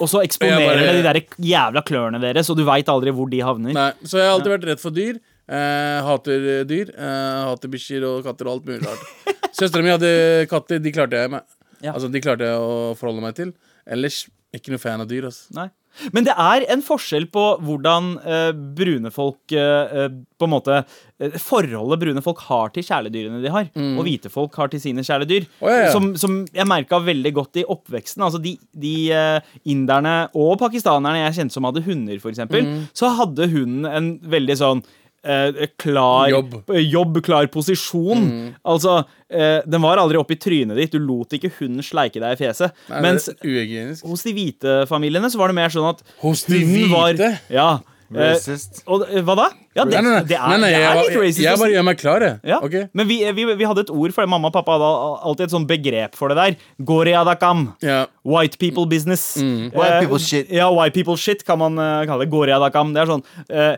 Speaker 3: Og så
Speaker 2: Og jeg
Speaker 3: eksponerer
Speaker 2: bare-
Speaker 3: det de der jævla klørne deres, og du veit aldri hvor de havner.
Speaker 2: Nei, Så jeg har alltid vært redd for dyr. Eh, hater eh, dyr. Eh, hater bikkjer og katter og alt mulig rart. Søstera mi hadde katter, de klarte jeg meg
Speaker 3: Ja.
Speaker 2: Altså de klarte jeg å forholde meg til. Ellers Ikke noe fan av dyr, altså.
Speaker 3: Nei. Men det er en forskjell på hvordan eh, brune folk eh, eh, På en måte eh, Forholdet brune folk har til kjæledyrene de har, og hvite folk har til sine kjæledyr.
Speaker 2: Mm. Å, ja, ja.
Speaker 3: Som, som jeg merka veldig godt i oppveksten. Altså De, de eh, inderne og pakistanerne jeg kjente som hadde hunder, for eksempel
Speaker 2: Mm.
Speaker 3: så hadde hunden en veldig sånn eh, klar eh,
Speaker 2: Jobb. Mm.
Speaker 3: jobb, klar posisjon. Altså, eh, den var aldri oppi trynet ditt. Du lot ikke hunden sleike deg i fjeset.
Speaker 2: Nei,
Speaker 3: mens
Speaker 2: det er uhygienisk.
Speaker 3: hos de hvite familiene så var det mer sånn at
Speaker 2: Hos de
Speaker 3: hunden
Speaker 2: hvite?
Speaker 3: ja. eh,
Speaker 4: Racist.
Speaker 3: og, eh, hva da? Ja, det,
Speaker 2: Nei, nei, nei.
Speaker 3: det er,
Speaker 2: nei, nei
Speaker 3: det
Speaker 2: jeg,
Speaker 3: er
Speaker 2: var-
Speaker 3: litt racist.
Speaker 2: jeg,
Speaker 3: å
Speaker 2: jeg
Speaker 3: si.
Speaker 2: bare gjør meg klar, jeg.
Speaker 3: ja.
Speaker 2: Ok?
Speaker 3: Men vi, eh, vi, vi hadde et ord for det. Mamma og pappa hadde al- alltid et sånn begrep for det der. Goreadakam.
Speaker 2: Ja.
Speaker 3: White people business.
Speaker 2: Mm.
Speaker 3: Eh,
Speaker 4: White people shit.
Speaker 3: Ja, white people shit kan man eh, kalle det. Goreadakam. Det er sånn eh,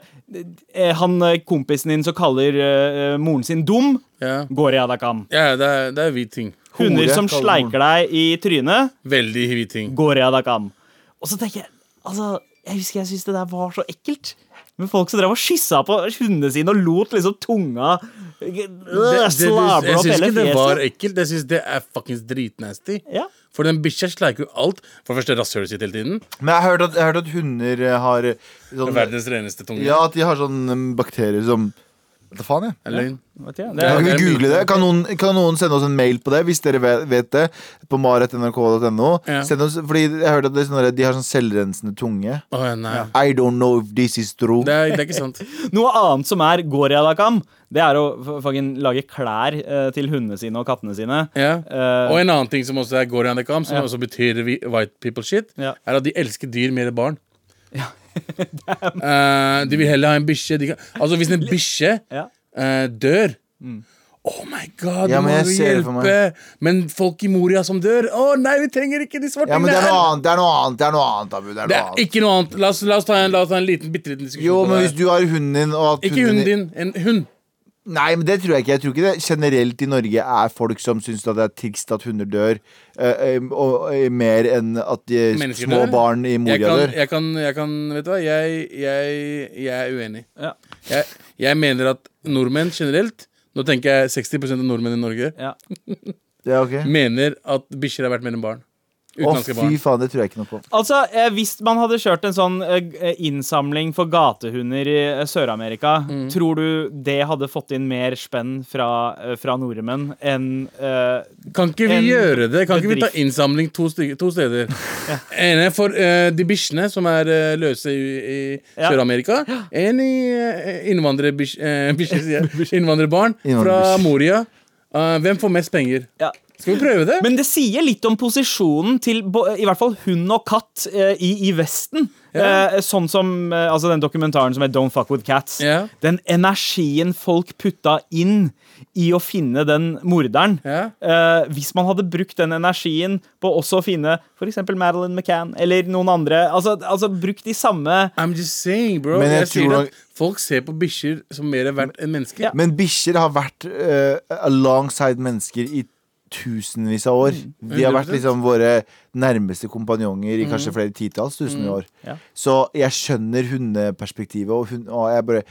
Speaker 3: eh, Han eh, kompisen din som kaller eh, moren sin dum,
Speaker 2: Ja.
Speaker 3: goreadakam.
Speaker 2: ja, det er, det er hvit ting.
Speaker 3: Hunder som
Speaker 4: kaller moren.
Speaker 3: sleiker deg i trynet.
Speaker 2: Veldig hvit ting.
Speaker 3: Goreadakam. Og så tenker jeg Altså, jeg husker jeg syntes det der var så ekkelt. Med folk som drev og kyssa på hundene sine og lot liksom tunga øh,
Speaker 2: Det- det-
Speaker 3: Slabla
Speaker 2: jeg
Speaker 3: opp
Speaker 2: syns
Speaker 3: hele
Speaker 2: ikke det var
Speaker 3: fjeset.
Speaker 2: ekkelt. Jeg syns det er fuckings dritnasty.
Speaker 3: Ja.
Speaker 2: For den bikkja sleiker jo alt. For det første rasshølet sitt hele tiden.
Speaker 4: Men jeg har hørt at, jeg har hørt at hunder eh, har eh, sånn,
Speaker 2: Verdens reneste tunge.
Speaker 4: Ja, at de har sånne mm, bakterier som Hva faen, jeg?
Speaker 2: Det er løgn.
Speaker 3: Vet ikke,
Speaker 2: Ja,
Speaker 4: Kan
Speaker 2: det
Speaker 3: det-
Speaker 4: vi
Speaker 2: er
Speaker 4: google
Speaker 2: mye.
Speaker 4: det? Kan noen, kan noen sende oss en mail på det, hvis dere vet, vet det? På maret.nrk.no.
Speaker 2: Ja.
Speaker 4: Send oss- Fordi jeg hørte at det er sånn der- de har sånn selvrensende tunge.
Speaker 2: Å, ja, nei.
Speaker 4: I don't know if this is true.
Speaker 2: Det, er, det er ikke sant.
Speaker 3: Noe annet som er goreadakam, det er å f- fucking lage klær eh, til hundene sine og kattene sine.
Speaker 2: Ja.
Speaker 3: Eh,
Speaker 2: Og en annen ting som også er går under kam, som
Speaker 3: Ja.
Speaker 2: også betyr vi- white people shit,
Speaker 3: Ja.
Speaker 2: er at de elsker dyr mer enn barn. Eh, de vil heller ha en bikkje. De kan- Altså, hvis en bikkje
Speaker 3: ja.
Speaker 2: eh, dør Oh my god,
Speaker 4: Mm. Ja,
Speaker 2: du må
Speaker 4: men jeg
Speaker 2: jo
Speaker 4: ser det for meg.
Speaker 2: hjelpe! Men folk i Moria som dør Å nei, vi trenger ikke de
Speaker 4: Ja,
Speaker 2: svartingene
Speaker 4: men det er noe
Speaker 2: her!
Speaker 4: annet, det er noe annet, det er noe annet, Abu. Det er
Speaker 2: Det
Speaker 4: noe
Speaker 2: er
Speaker 4: annet.
Speaker 2: ikke noe annet. La oss, la oss, ta, en, la oss ta en liten bitte liten diskusjon.
Speaker 4: Jo,
Speaker 2: på
Speaker 4: men
Speaker 2: det
Speaker 4: hvis du har hunden din og
Speaker 2: her.
Speaker 4: at
Speaker 2: Ikke hunden din. En hund.
Speaker 4: Nei, men det tror jeg ikke. Jeg tror ikke det generelt i Norge er folk som syns at det er trist at hunder dør, eh, eh, og, eh, mer enn at de
Speaker 2: Mennesker
Speaker 4: små
Speaker 2: dør.
Speaker 4: barn i
Speaker 2: Jeg
Speaker 4: Moria
Speaker 2: kan,
Speaker 4: dør.
Speaker 2: jeg kan, jeg kan Vet du hva, jeg, jeg, jeg er uenig.
Speaker 3: Ja.
Speaker 2: Jeg, jeg mener at nordmenn generelt Nå tenker jeg 60 av nordmenn i Norge
Speaker 3: Ja.
Speaker 4: Ja, ok.
Speaker 2: mener at bikkjer har vært mer enn barn.
Speaker 4: Å,
Speaker 2: Utenlandske barn.
Speaker 4: fy faen, det tror jeg ikke noe på.
Speaker 3: Altså, eh, Hvis man hadde kjørt en sånn eh, g- eh, innsamling for gatehunder i eh, Sør-Amerika, tror du det hadde fått inn mer spenn fra, eh, fra nordmenn enn eh,
Speaker 2: Kan ikke vi
Speaker 3: En
Speaker 2: gjøre det? Kan ikke vi ta
Speaker 3: bedrift.
Speaker 2: innsamling to, styg- to steder? En er for eh, de bikkjene som er eh, løse i, i
Speaker 3: Ja.
Speaker 2: Sør-Amerika. En i uh, innvandrerbikkjer, eh, sier jeg. Innvandrerbarn fra
Speaker 4: Innvandrerbikkjer.
Speaker 2: Moria. Eh, hvem får mest penger?
Speaker 3: ja.
Speaker 2: Skal vi prøve det?
Speaker 3: Men det sier litt om posisjonen til bo- i hvert fall hund og katt eh, i, i Vesten. Eh, sånn som eh, altså den dokumentaren som heter Don't Fuck With Cats.
Speaker 2: Ja.
Speaker 3: Den energien folk putta inn i å finne den morderen.
Speaker 2: Ja.
Speaker 3: Eh, hvis man hadde brukt den energien på også å finne f.eks. Madeline McCann eller noen andre. Altså, altså brukt de samme
Speaker 2: I'm just saying, bro.
Speaker 4: Men
Speaker 2: jeg
Speaker 4: jeg
Speaker 2: sier
Speaker 4: tror nok-
Speaker 2: at folk ser på bikkjer som mer er verdt enn mennesker.
Speaker 3: Ja.
Speaker 4: Men bikkjer har vært eh, alongside mennesker i tusenvis av år. De har vært
Speaker 2: 100%.
Speaker 4: liksom våre nærmeste kompanjonger i kanskje flere titalls tusen år.
Speaker 3: Ja.
Speaker 4: Så jeg skjønner hundeperspektivet, og, hund, og jeg bare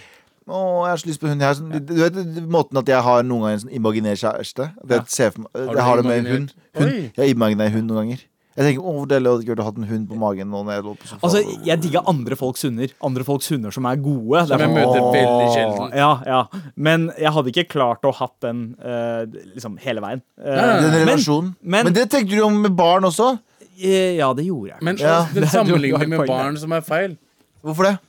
Speaker 4: å, jeg har så lyst på hund. Jeg har sånn, du vet den måten at jeg har noen ganger en sånn imaginær kjæreste. At jeg, ser for, meg-
Speaker 2: Har du
Speaker 4: jeg har det med en hund.
Speaker 2: imaginert?
Speaker 4: hund.
Speaker 2: Oi.
Speaker 4: Jeg har imaginær hund noen ganger. Jeg tenker, å, hvor deilig hadde det ikke vært å ha en hund på magen. nå Når jeg lå på sofaen.
Speaker 3: Altså, jeg digger andre folks hunder. Andre folks hunder som er gode. Det
Speaker 2: Som
Speaker 3: er
Speaker 2: jeg
Speaker 3: sånn,
Speaker 2: møter
Speaker 3: «Åh».
Speaker 2: veldig sjelden.
Speaker 3: Ja, ja. Men jeg hadde ikke klart å hatt den eh, liksom hele veien. Eh,
Speaker 2: Nei, nei,
Speaker 4: den
Speaker 2: nei.
Speaker 3: men-
Speaker 4: relasjonen.
Speaker 3: men-
Speaker 4: men det tenkte du om med barn også.
Speaker 3: eh, ja, det gjorde jeg.
Speaker 2: Men
Speaker 4: Ja,
Speaker 2: altså, den
Speaker 3: det er- du har
Speaker 2: sammenligner med
Speaker 3: poeng der.
Speaker 2: barn som er feil.
Speaker 4: Hvorfor det?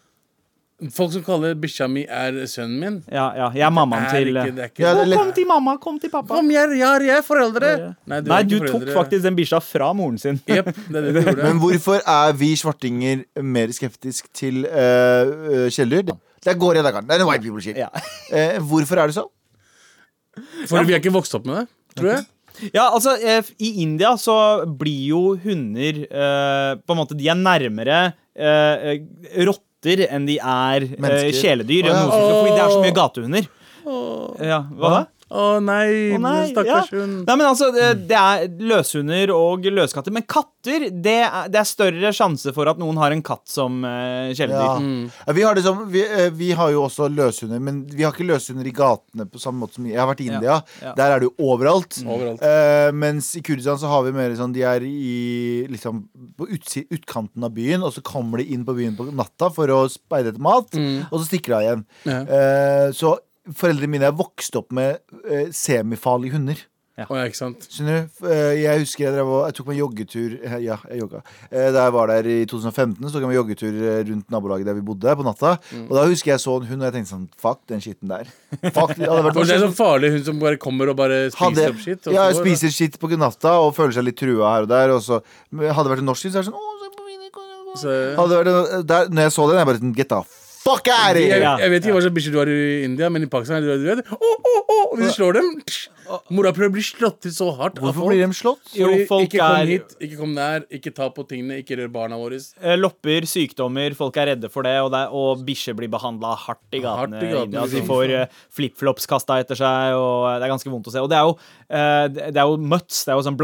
Speaker 2: Folk som kaller bikkja mi er sønnen min.
Speaker 3: Ja, ja. Jeg er mammaen
Speaker 2: Er
Speaker 3: til
Speaker 2: ikke,
Speaker 3: eh,
Speaker 2: det er ikke
Speaker 4: Ja,
Speaker 3: «Å,
Speaker 4: det er litt-
Speaker 3: Kom til mamma, kom til pappa.
Speaker 2: Kom, jeg, jeg, er- jeg er foreldre!
Speaker 3: Nei, du,
Speaker 2: er ikke
Speaker 3: tok
Speaker 2: foreldre.
Speaker 3: faktisk den bikkja fra moren sin.
Speaker 2: Jep, det er det du gjorde.
Speaker 4: Men hvorfor er vi svartinger mer skeptisk til uh, kjæledyr? Det- Det går i dag, det er en white people shit.
Speaker 3: Ja.
Speaker 4: Eh, hvorfor er det sånn?
Speaker 2: For vi er ikke vokst opp med det, tror jeg.
Speaker 3: Ja, altså, eh, f- I India så blir jo hunder eh, På en måte, de er nærmere eh, eh, rotter enn de er eh,
Speaker 4: Mennesker.
Speaker 3: kjæledyr.
Speaker 4: Å, ja.
Speaker 3: og noe sånt, Fordi det er så mye gatehunder. Ja, hva da?
Speaker 2: Å nei,
Speaker 3: Å nei,
Speaker 2: stakkars
Speaker 3: ja.
Speaker 2: hund.
Speaker 3: Nei, men altså, det, det er løshunder og løskatter. Men katter, det er, det er større sjanse for at noen har en katt som uh,
Speaker 4: Ja.
Speaker 3: kjæledyr.
Speaker 4: Ja, Vi, har det som, vi, eh, vi har jo også løshunder, men vi har ikke løshunder i gatene på samme måte som Jeg har vært i
Speaker 3: Ja,
Speaker 4: India.
Speaker 3: ja.
Speaker 4: Der er det jo overalt.
Speaker 2: Overalt.
Speaker 4: Eh, mens i Kurdistan så har vi mer sånn De er i, liksom, på utsi, utkanten av byen, og så kommer de inn på byen på natta for å speide etter mat, og så stikker de av igjen.
Speaker 2: Ja.
Speaker 4: Eh, så foreldrene mine er vokst opp med eh, semifarlige hunder.
Speaker 2: Å, ja, ikke sant?
Speaker 4: Skjønner du? Eh, Jeg husker jeg, drev, og- jeg tok meg joggetur eh, Ja, jeg jogga. Eh, Da jeg var der i 2015, så tok jeg meg joggetur eh, rundt nabolaget der vi bodde, på natta.
Speaker 2: Mm.
Speaker 4: Og da husker jeg så en hund, og jeg tenkte sånn Fuck den skitten der. Fuck, det hadde vært
Speaker 2: Og det er så farlig hun som bare kommer og bare
Speaker 4: hadde,
Speaker 2: spiser opp skitt. og så
Speaker 4: ja,
Speaker 2: går, da.
Speaker 4: spiser skitt på natta og føler seg litt trua her og der. Og så men hadde det vært en norsk hund, så er det sånn «Å, se på mine kon-
Speaker 2: Så-
Speaker 4: Hadde det vært en, eh, der, Når jeg så den, jeg bare sånn Get the fuck out of
Speaker 2: jeg,
Speaker 4: here!
Speaker 3: Ja,
Speaker 2: jeg vet ikke hva slags bikkjer du har i India, men i Pakistan er det du vet. Å, å, å, og hvis du slår dem psh, Mora prøver å bli slått til så hardt. av
Speaker 4: Hvorfor
Speaker 2: folk.
Speaker 4: blir de slått?
Speaker 3: Jo,
Speaker 2: Fordi,
Speaker 3: folk
Speaker 2: ikke kom
Speaker 3: er-
Speaker 2: hit, ikke kom nær, ikke ta på tingene, ikke rør barna våre.
Speaker 3: Eh, Lopper, sykdommer, folk er redde for det, og, det er- og bikkjer blir behandla hardt i
Speaker 2: Hardt
Speaker 3: gatene.
Speaker 2: i
Speaker 3: i
Speaker 2: gatene,
Speaker 3: India. de
Speaker 2: liksom.
Speaker 3: får eh, flipflops kasta etter seg, og eh, det er ganske vondt å se. Og det er jo, eh, det det er jo mutts, det er jo sånn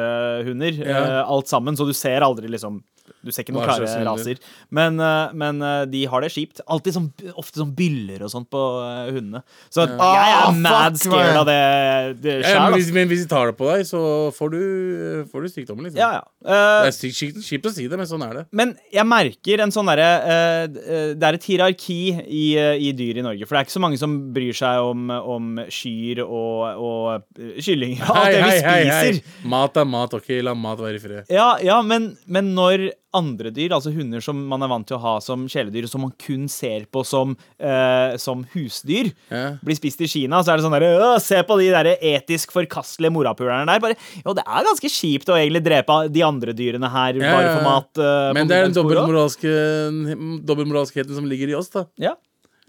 Speaker 3: blandingshunder,
Speaker 2: Ja.
Speaker 3: eh, alt sammen, så du ser aldri liksom du ser ikke noen
Speaker 2: Hva slags
Speaker 3: klare
Speaker 2: hunder?
Speaker 3: raser. Men, eh, men eh, de har det kjipt. Alltid sånn, ofte sånn byller og sånt på eh, hundene. Så jeg
Speaker 4: Ah,
Speaker 3: er mad
Speaker 4: fuck,
Speaker 3: scared
Speaker 4: man.
Speaker 3: av det, det
Speaker 2: Ja, Eh, men,
Speaker 3: sjæl.
Speaker 2: hvis, men hvis de tar det på deg, så får du, får du sykdommen, liksom.
Speaker 3: Ja, ja. Eh,
Speaker 2: Det er sykt- sykt- kjipt å si det, men sånn er det.
Speaker 3: Men jeg merker en sånn derre eh, d- eh, Det er et hierarki i, eh, i dyr i Norge. For det er ikke så mange som bryr seg om, om kyr og, og eh, kyllinger. og Alt det vi spiser.
Speaker 2: Mat er mat, ok, la mat være i fred.
Speaker 3: Ja, ja men, men når andre dyr, altså hunder som man er vant til å ha som kjæledyr, og som man kun ser på som, eh, som husdyr,
Speaker 2: Ja.
Speaker 3: blir spist i Kina, så er det sånn derre «Åh, Se på de der etisk forkastelige morapulerne der. Bare, jo, det er ganske kjipt å egentlig drepe de andre dyrene her
Speaker 2: Ja,
Speaker 3: bare
Speaker 2: ja,
Speaker 3: for
Speaker 2: ja.
Speaker 3: mat. eh, på
Speaker 2: Men det er den
Speaker 3: middagsbordet også.
Speaker 2: dobbeltmoralske- dobbeltmoralskheten som ligger i oss, da.
Speaker 3: Ja,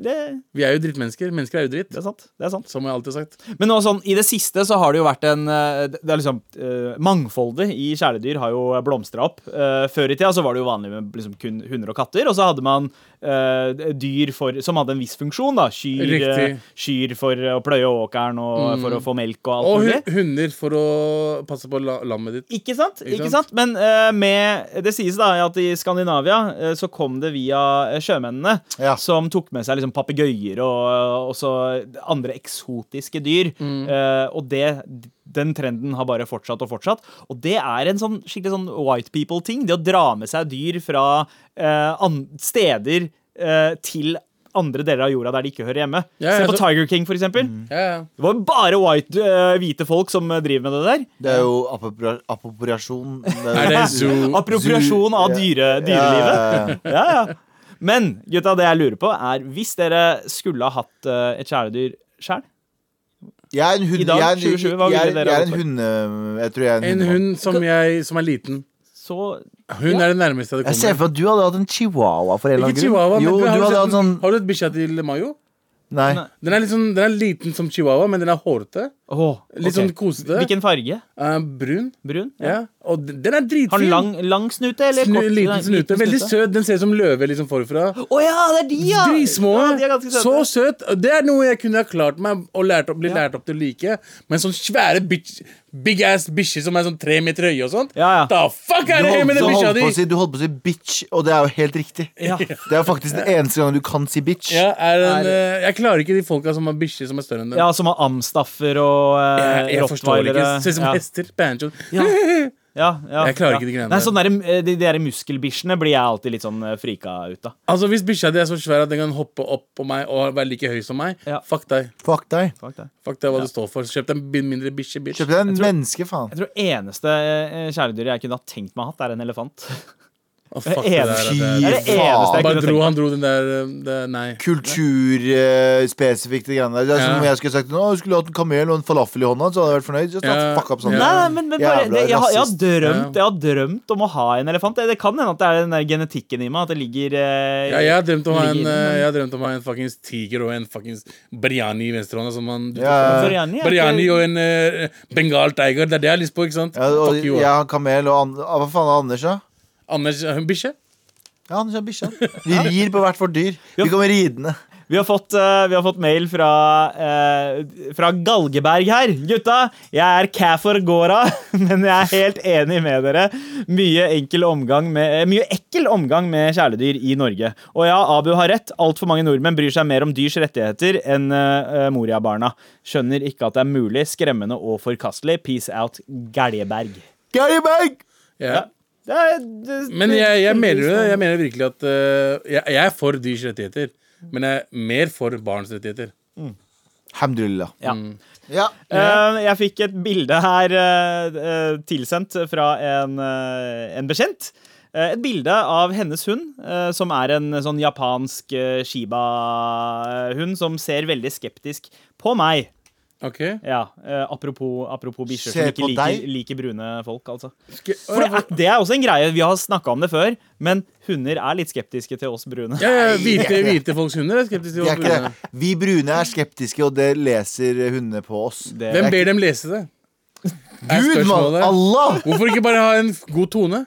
Speaker 3: det,
Speaker 2: Vi er jo drittmennesker. Mennesker er jo dritt.
Speaker 3: det er sant. Det er sant.
Speaker 2: Som jeg alltid har sagt.
Speaker 3: Men nå, sånn, i det siste så har det jo vært en eh, Det det er liksom eh, Mangfoldet i kjæledyr har jo blomstra opp. Eh, før i tida så var det jo vanlig med liksom kun hunder og katter, og så hadde man eh, dyr for, som hadde en viss funksjon. da Kyr, eh,
Speaker 2: Riktig. Mm.
Speaker 3: kyr for å pløye åkeren og for å få melk og alt
Speaker 2: Og
Speaker 3: mulig.
Speaker 2: hu- hunder for å passe på la lammet ditt.
Speaker 3: Ikke sant?
Speaker 2: Ikke
Speaker 3: Ikke sant? Men eh, med, det sies da at i Skandinavia eh, så kom det via eh, sjømennene,
Speaker 4: Ja.
Speaker 3: som tok med seg liksom papegøyer og og så andre eksotiske dyr.
Speaker 2: Mm.
Speaker 3: Eh, og det, den trenden har bare fortsatt og fortsatt. Og det er en sånn skikkelig sånn white people-ting. Det å dra med seg dyr fra eh, an steder eh, til andre deler av jorda der de ikke hører hjemme.
Speaker 2: Ja,
Speaker 3: Se
Speaker 2: ja,
Speaker 3: på
Speaker 2: så- Mm.
Speaker 3: Tiger King, for eksempel.
Speaker 2: Ja, ja.
Speaker 3: Det var jo bare white, eh, hvite folk som eh, driver med det der.
Speaker 4: Det er jo appropria- appropriasjon.
Speaker 2: Er det zoo?
Speaker 3: Appropriasjon av dyre, dyrelivet.
Speaker 4: dyrelivet?
Speaker 3: Ja, ja. Men gutta, det jeg lurer på, er hvis dere skulle ha hatt eh, et kjæledyr sjøl
Speaker 4: Jeg er en hund...
Speaker 3: I dag,
Speaker 4: jeg er en-
Speaker 3: 2020, hva ville
Speaker 4: jeg er-
Speaker 3: dere
Speaker 4: Jeg
Speaker 3: gått
Speaker 4: er en
Speaker 3: for?
Speaker 4: hunde... eh, Jeg tror jeg er en,
Speaker 2: En
Speaker 4: hundemann.
Speaker 2: hund som, jeg, som er liten.
Speaker 3: så
Speaker 2: Hun er det nærmeste jeg
Speaker 4: Jeg ser
Speaker 2: kommer.
Speaker 4: for meg at du hadde hatt en chihuahua for en eller
Speaker 2: Ikke
Speaker 4: annen
Speaker 2: chihuahua, men
Speaker 4: grunn. Jo,
Speaker 2: har,
Speaker 4: du
Speaker 2: du
Speaker 4: hadde
Speaker 2: sett,
Speaker 4: hatt sånn
Speaker 2: har du et bikkja til Mayo?
Speaker 4: Nei.
Speaker 3: Nei.
Speaker 2: Den er, litt sånn- den er liten som chihuahua, men den er hårete.
Speaker 3: Åh,
Speaker 2: Litt
Speaker 3: ok.
Speaker 2: sånn kosete.
Speaker 3: Hvilken farge?
Speaker 2: Eh, brun.
Speaker 3: Brun?
Speaker 2: Ja. Og d- den er dritfin.
Speaker 3: Har den lang, lang snute eller
Speaker 2: Snu,
Speaker 3: kort?
Speaker 2: liten snute. Veldig søt. Den ser ut som løve liksom forfra.
Speaker 3: Å ja, det er de, ja!
Speaker 2: Dritsmå.
Speaker 3: Ja, de er ganske søte.
Speaker 2: så søt. Og Det er noe jeg kunne ha klart meg og lært opp, bli
Speaker 3: Ja.
Speaker 2: lært opp til å like. Men sånn svære bitch, big ass bikkjer som er sånn tre meter høye og sånt
Speaker 3: Ja, ja.
Speaker 2: Da fuck er det
Speaker 4: Du
Speaker 2: med
Speaker 4: holdt,
Speaker 2: den
Speaker 4: du,
Speaker 2: bikkja
Speaker 4: holdt på
Speaker 2: di!
Speaker 4: å si, du holdt på å si bitch, og det er jo helt riktig.
Speaker 3: Ja.
Speaker 4: Det er faktisk den eneste gangen du kan si bitch.
Speaker 2: Ja, er en,
Speaker 3: Er-
Speaker 2: eh, jeg klarer ikke de folka som har bikkjer som er større enn dem.
Speaker 3: ja, som har amstaffer og eh,
Speaker 2: jeg, jeg forstår det ikke.
Speaker 3: rottweilere.
Speaker 2: Ser ut som
Speaker 3: Ja.
Speaker 2: hester. Banjo.
Speaker 3: Ja. Ja, ja,
Speaker 2: Jeg klarer
Speaker 3: ja.
Speaker 2: ikke de greiene
Speaker 3: Nei, sånn der, eh, De, de der muskelbikkjene blir jeg alltid litt sånn eh, frika ut av.
Speaker 2: Altså Hvis bikkja di er så svær at den kan hoppe opp på meg og være like høy som meg,
Speaker 3: Ja.
Speaker 2: fuck deg.
Speaker 4: Fuck deg.
Speaker 3: Fuck det.
Speaker 2: Fuck deg hva du står for. Kjøp deg en bi- mindre bikkje, bitch.
Speaker 4: Kjøp deg en menneske, faen.
Speaker 3: Jeg tror eneste eh, kjæledyret jeg kunne ha tenkt meg å ha hatt, er en elefant.
Speaker 2: Å, fuck
Speaker 3: Jeg er
Speaker 2: det der,
Speaker 4: Fy
Speaker 2: det er-
Speaker 3: Det er det eneste
Speaker 2: Han
Speaker 4: faen.
Speaker 3: jeg-
Speaker 2: bare
Speaker 3: kunne
Speaker 2: dro,
Speaker 3: tenkt
Speaker 2: han dro den der eh, det, Nei.
Speaker 4: Kulturspesifikt. eh, det greiene der. Det er som
Speaker 2: Ja.
Speaker 4: om jeg skulle sagt Nå, jeg skulle hatt en kamel og en falafel i hånda, så hadde jeg vært fornøyd. Så
Speaker 2: Ja.
Speaker 4: fuck up sånn.
Speaker 2: Ja.
Speaker 3: Nei, nei, men, men bare,
Speaker 4: Jævla
Speaker 3: det, jeg, har, jeg, har
Speaker 4: rasist.
Speaker 3: drømt,
Speaker 2: Ja.
Speaker 3: jeg har drømt om å ha en elefant. Det, det kan hende at det er den der genetikken i meg. At det ligger eh,
Speaker 2: Ja, jeg har drømt om å ha en,
Speaker 3: ligger i
Speaker 2: eh,
Speaker 3: den.
Speaker 2: jeg har drømt om å ha en fuckings tiger og en fuckings briani i venstrehånda. Som han
Speaker 4: Ja.
Speaker 3: Biryani er
Speaker 2: Briani
Speaker 3: ikke-
Speaker 2: og en eh, bengal tiger. Det er det jeg har lyst på, ikke sant?
Speaker 4: Ja, og
Speaker 2: Fuck you.
Speaker 4: jeg har kamel, og and ah, hva faen er Anders, da?
Speaker 2: Anders, eh, bikkje?
Speaker 4: Ja, Anders har bikkja. Vi rir på hvert vårt dyr. Vi kommer ridende.
Speaker 3: Vi har fått, eh, vi har fått mail fra, eh, fra Galgeberg her. Gutta, jeg er Cafor Gora, men jeg er helt enig med dere. Mye, enkel omgang med, eh, mye ekkel omgang med kjæledyr i Norge. Og ja, Abu har rett. Altfor mange nordmenn bryr seg mer om dyrs rettigheter enn eh, eh, Moria-barna. Skjønner ikke at det er mulig. Skremmende og forkastelig. Peace out, Galgeberg.
Speaker 4: Geiberg!
Speaker 2: Ja.
Speaker 3: Det er, det,
Speaker 2: Men jeg, jeg mener det. Jeg mener virkelig at eh, jeg, jeg er for dyrs rettigheter. Men jeg er mer for barns rettigheter.
Speaker 4: Hamdulillah.
Speaker 3: Ja.
Speaker 4: Ja.
Speaker 3: Eh, jeg fikk et bilde her eh, eh, tilsendt fra en, eh, en bekjent. Eh, et bilde av hennes hund, eh, som er en sånn japansk eh, shiba-hund, som ser veldig skeptisk på meg.
Speaker 2: Ok?
Speaker 3: Ja, eh, apropos, apropos bikkjer som
Speaker 4: Ser
Speaker 3: ikke
Speaker 4: på
Speaker 3: liker,
Speaker 4: deg?
Speaker 3: liker brune folk, altså.
Speaker 2: Skal,
Speaker 3: For det, er, det er også en greie, vi har snakka om det før, men hunder er litt skeptiske til oss brune.
Speaker 2: ja, ja, hvite,
Speaker 4: Nei,
Speaker 2: hvite folks hunder er skeptiske til
Speaker 4: Vi, er
Speaker 2: oss
Speaker 4: ikke
Speaker 2: brune.
Speaker 4: det. vi brune er skeptiske, og det leser hundene på oss.
Speaker 3: Det-
Speaker 2: Hvem ber dem lese det? Er
Speaker 4: Gud, mann!
Speaker 2: spørsmålet.
Speaker 4: Allah!
Speaker 2: Hvorfor ikke bare ha en god tone?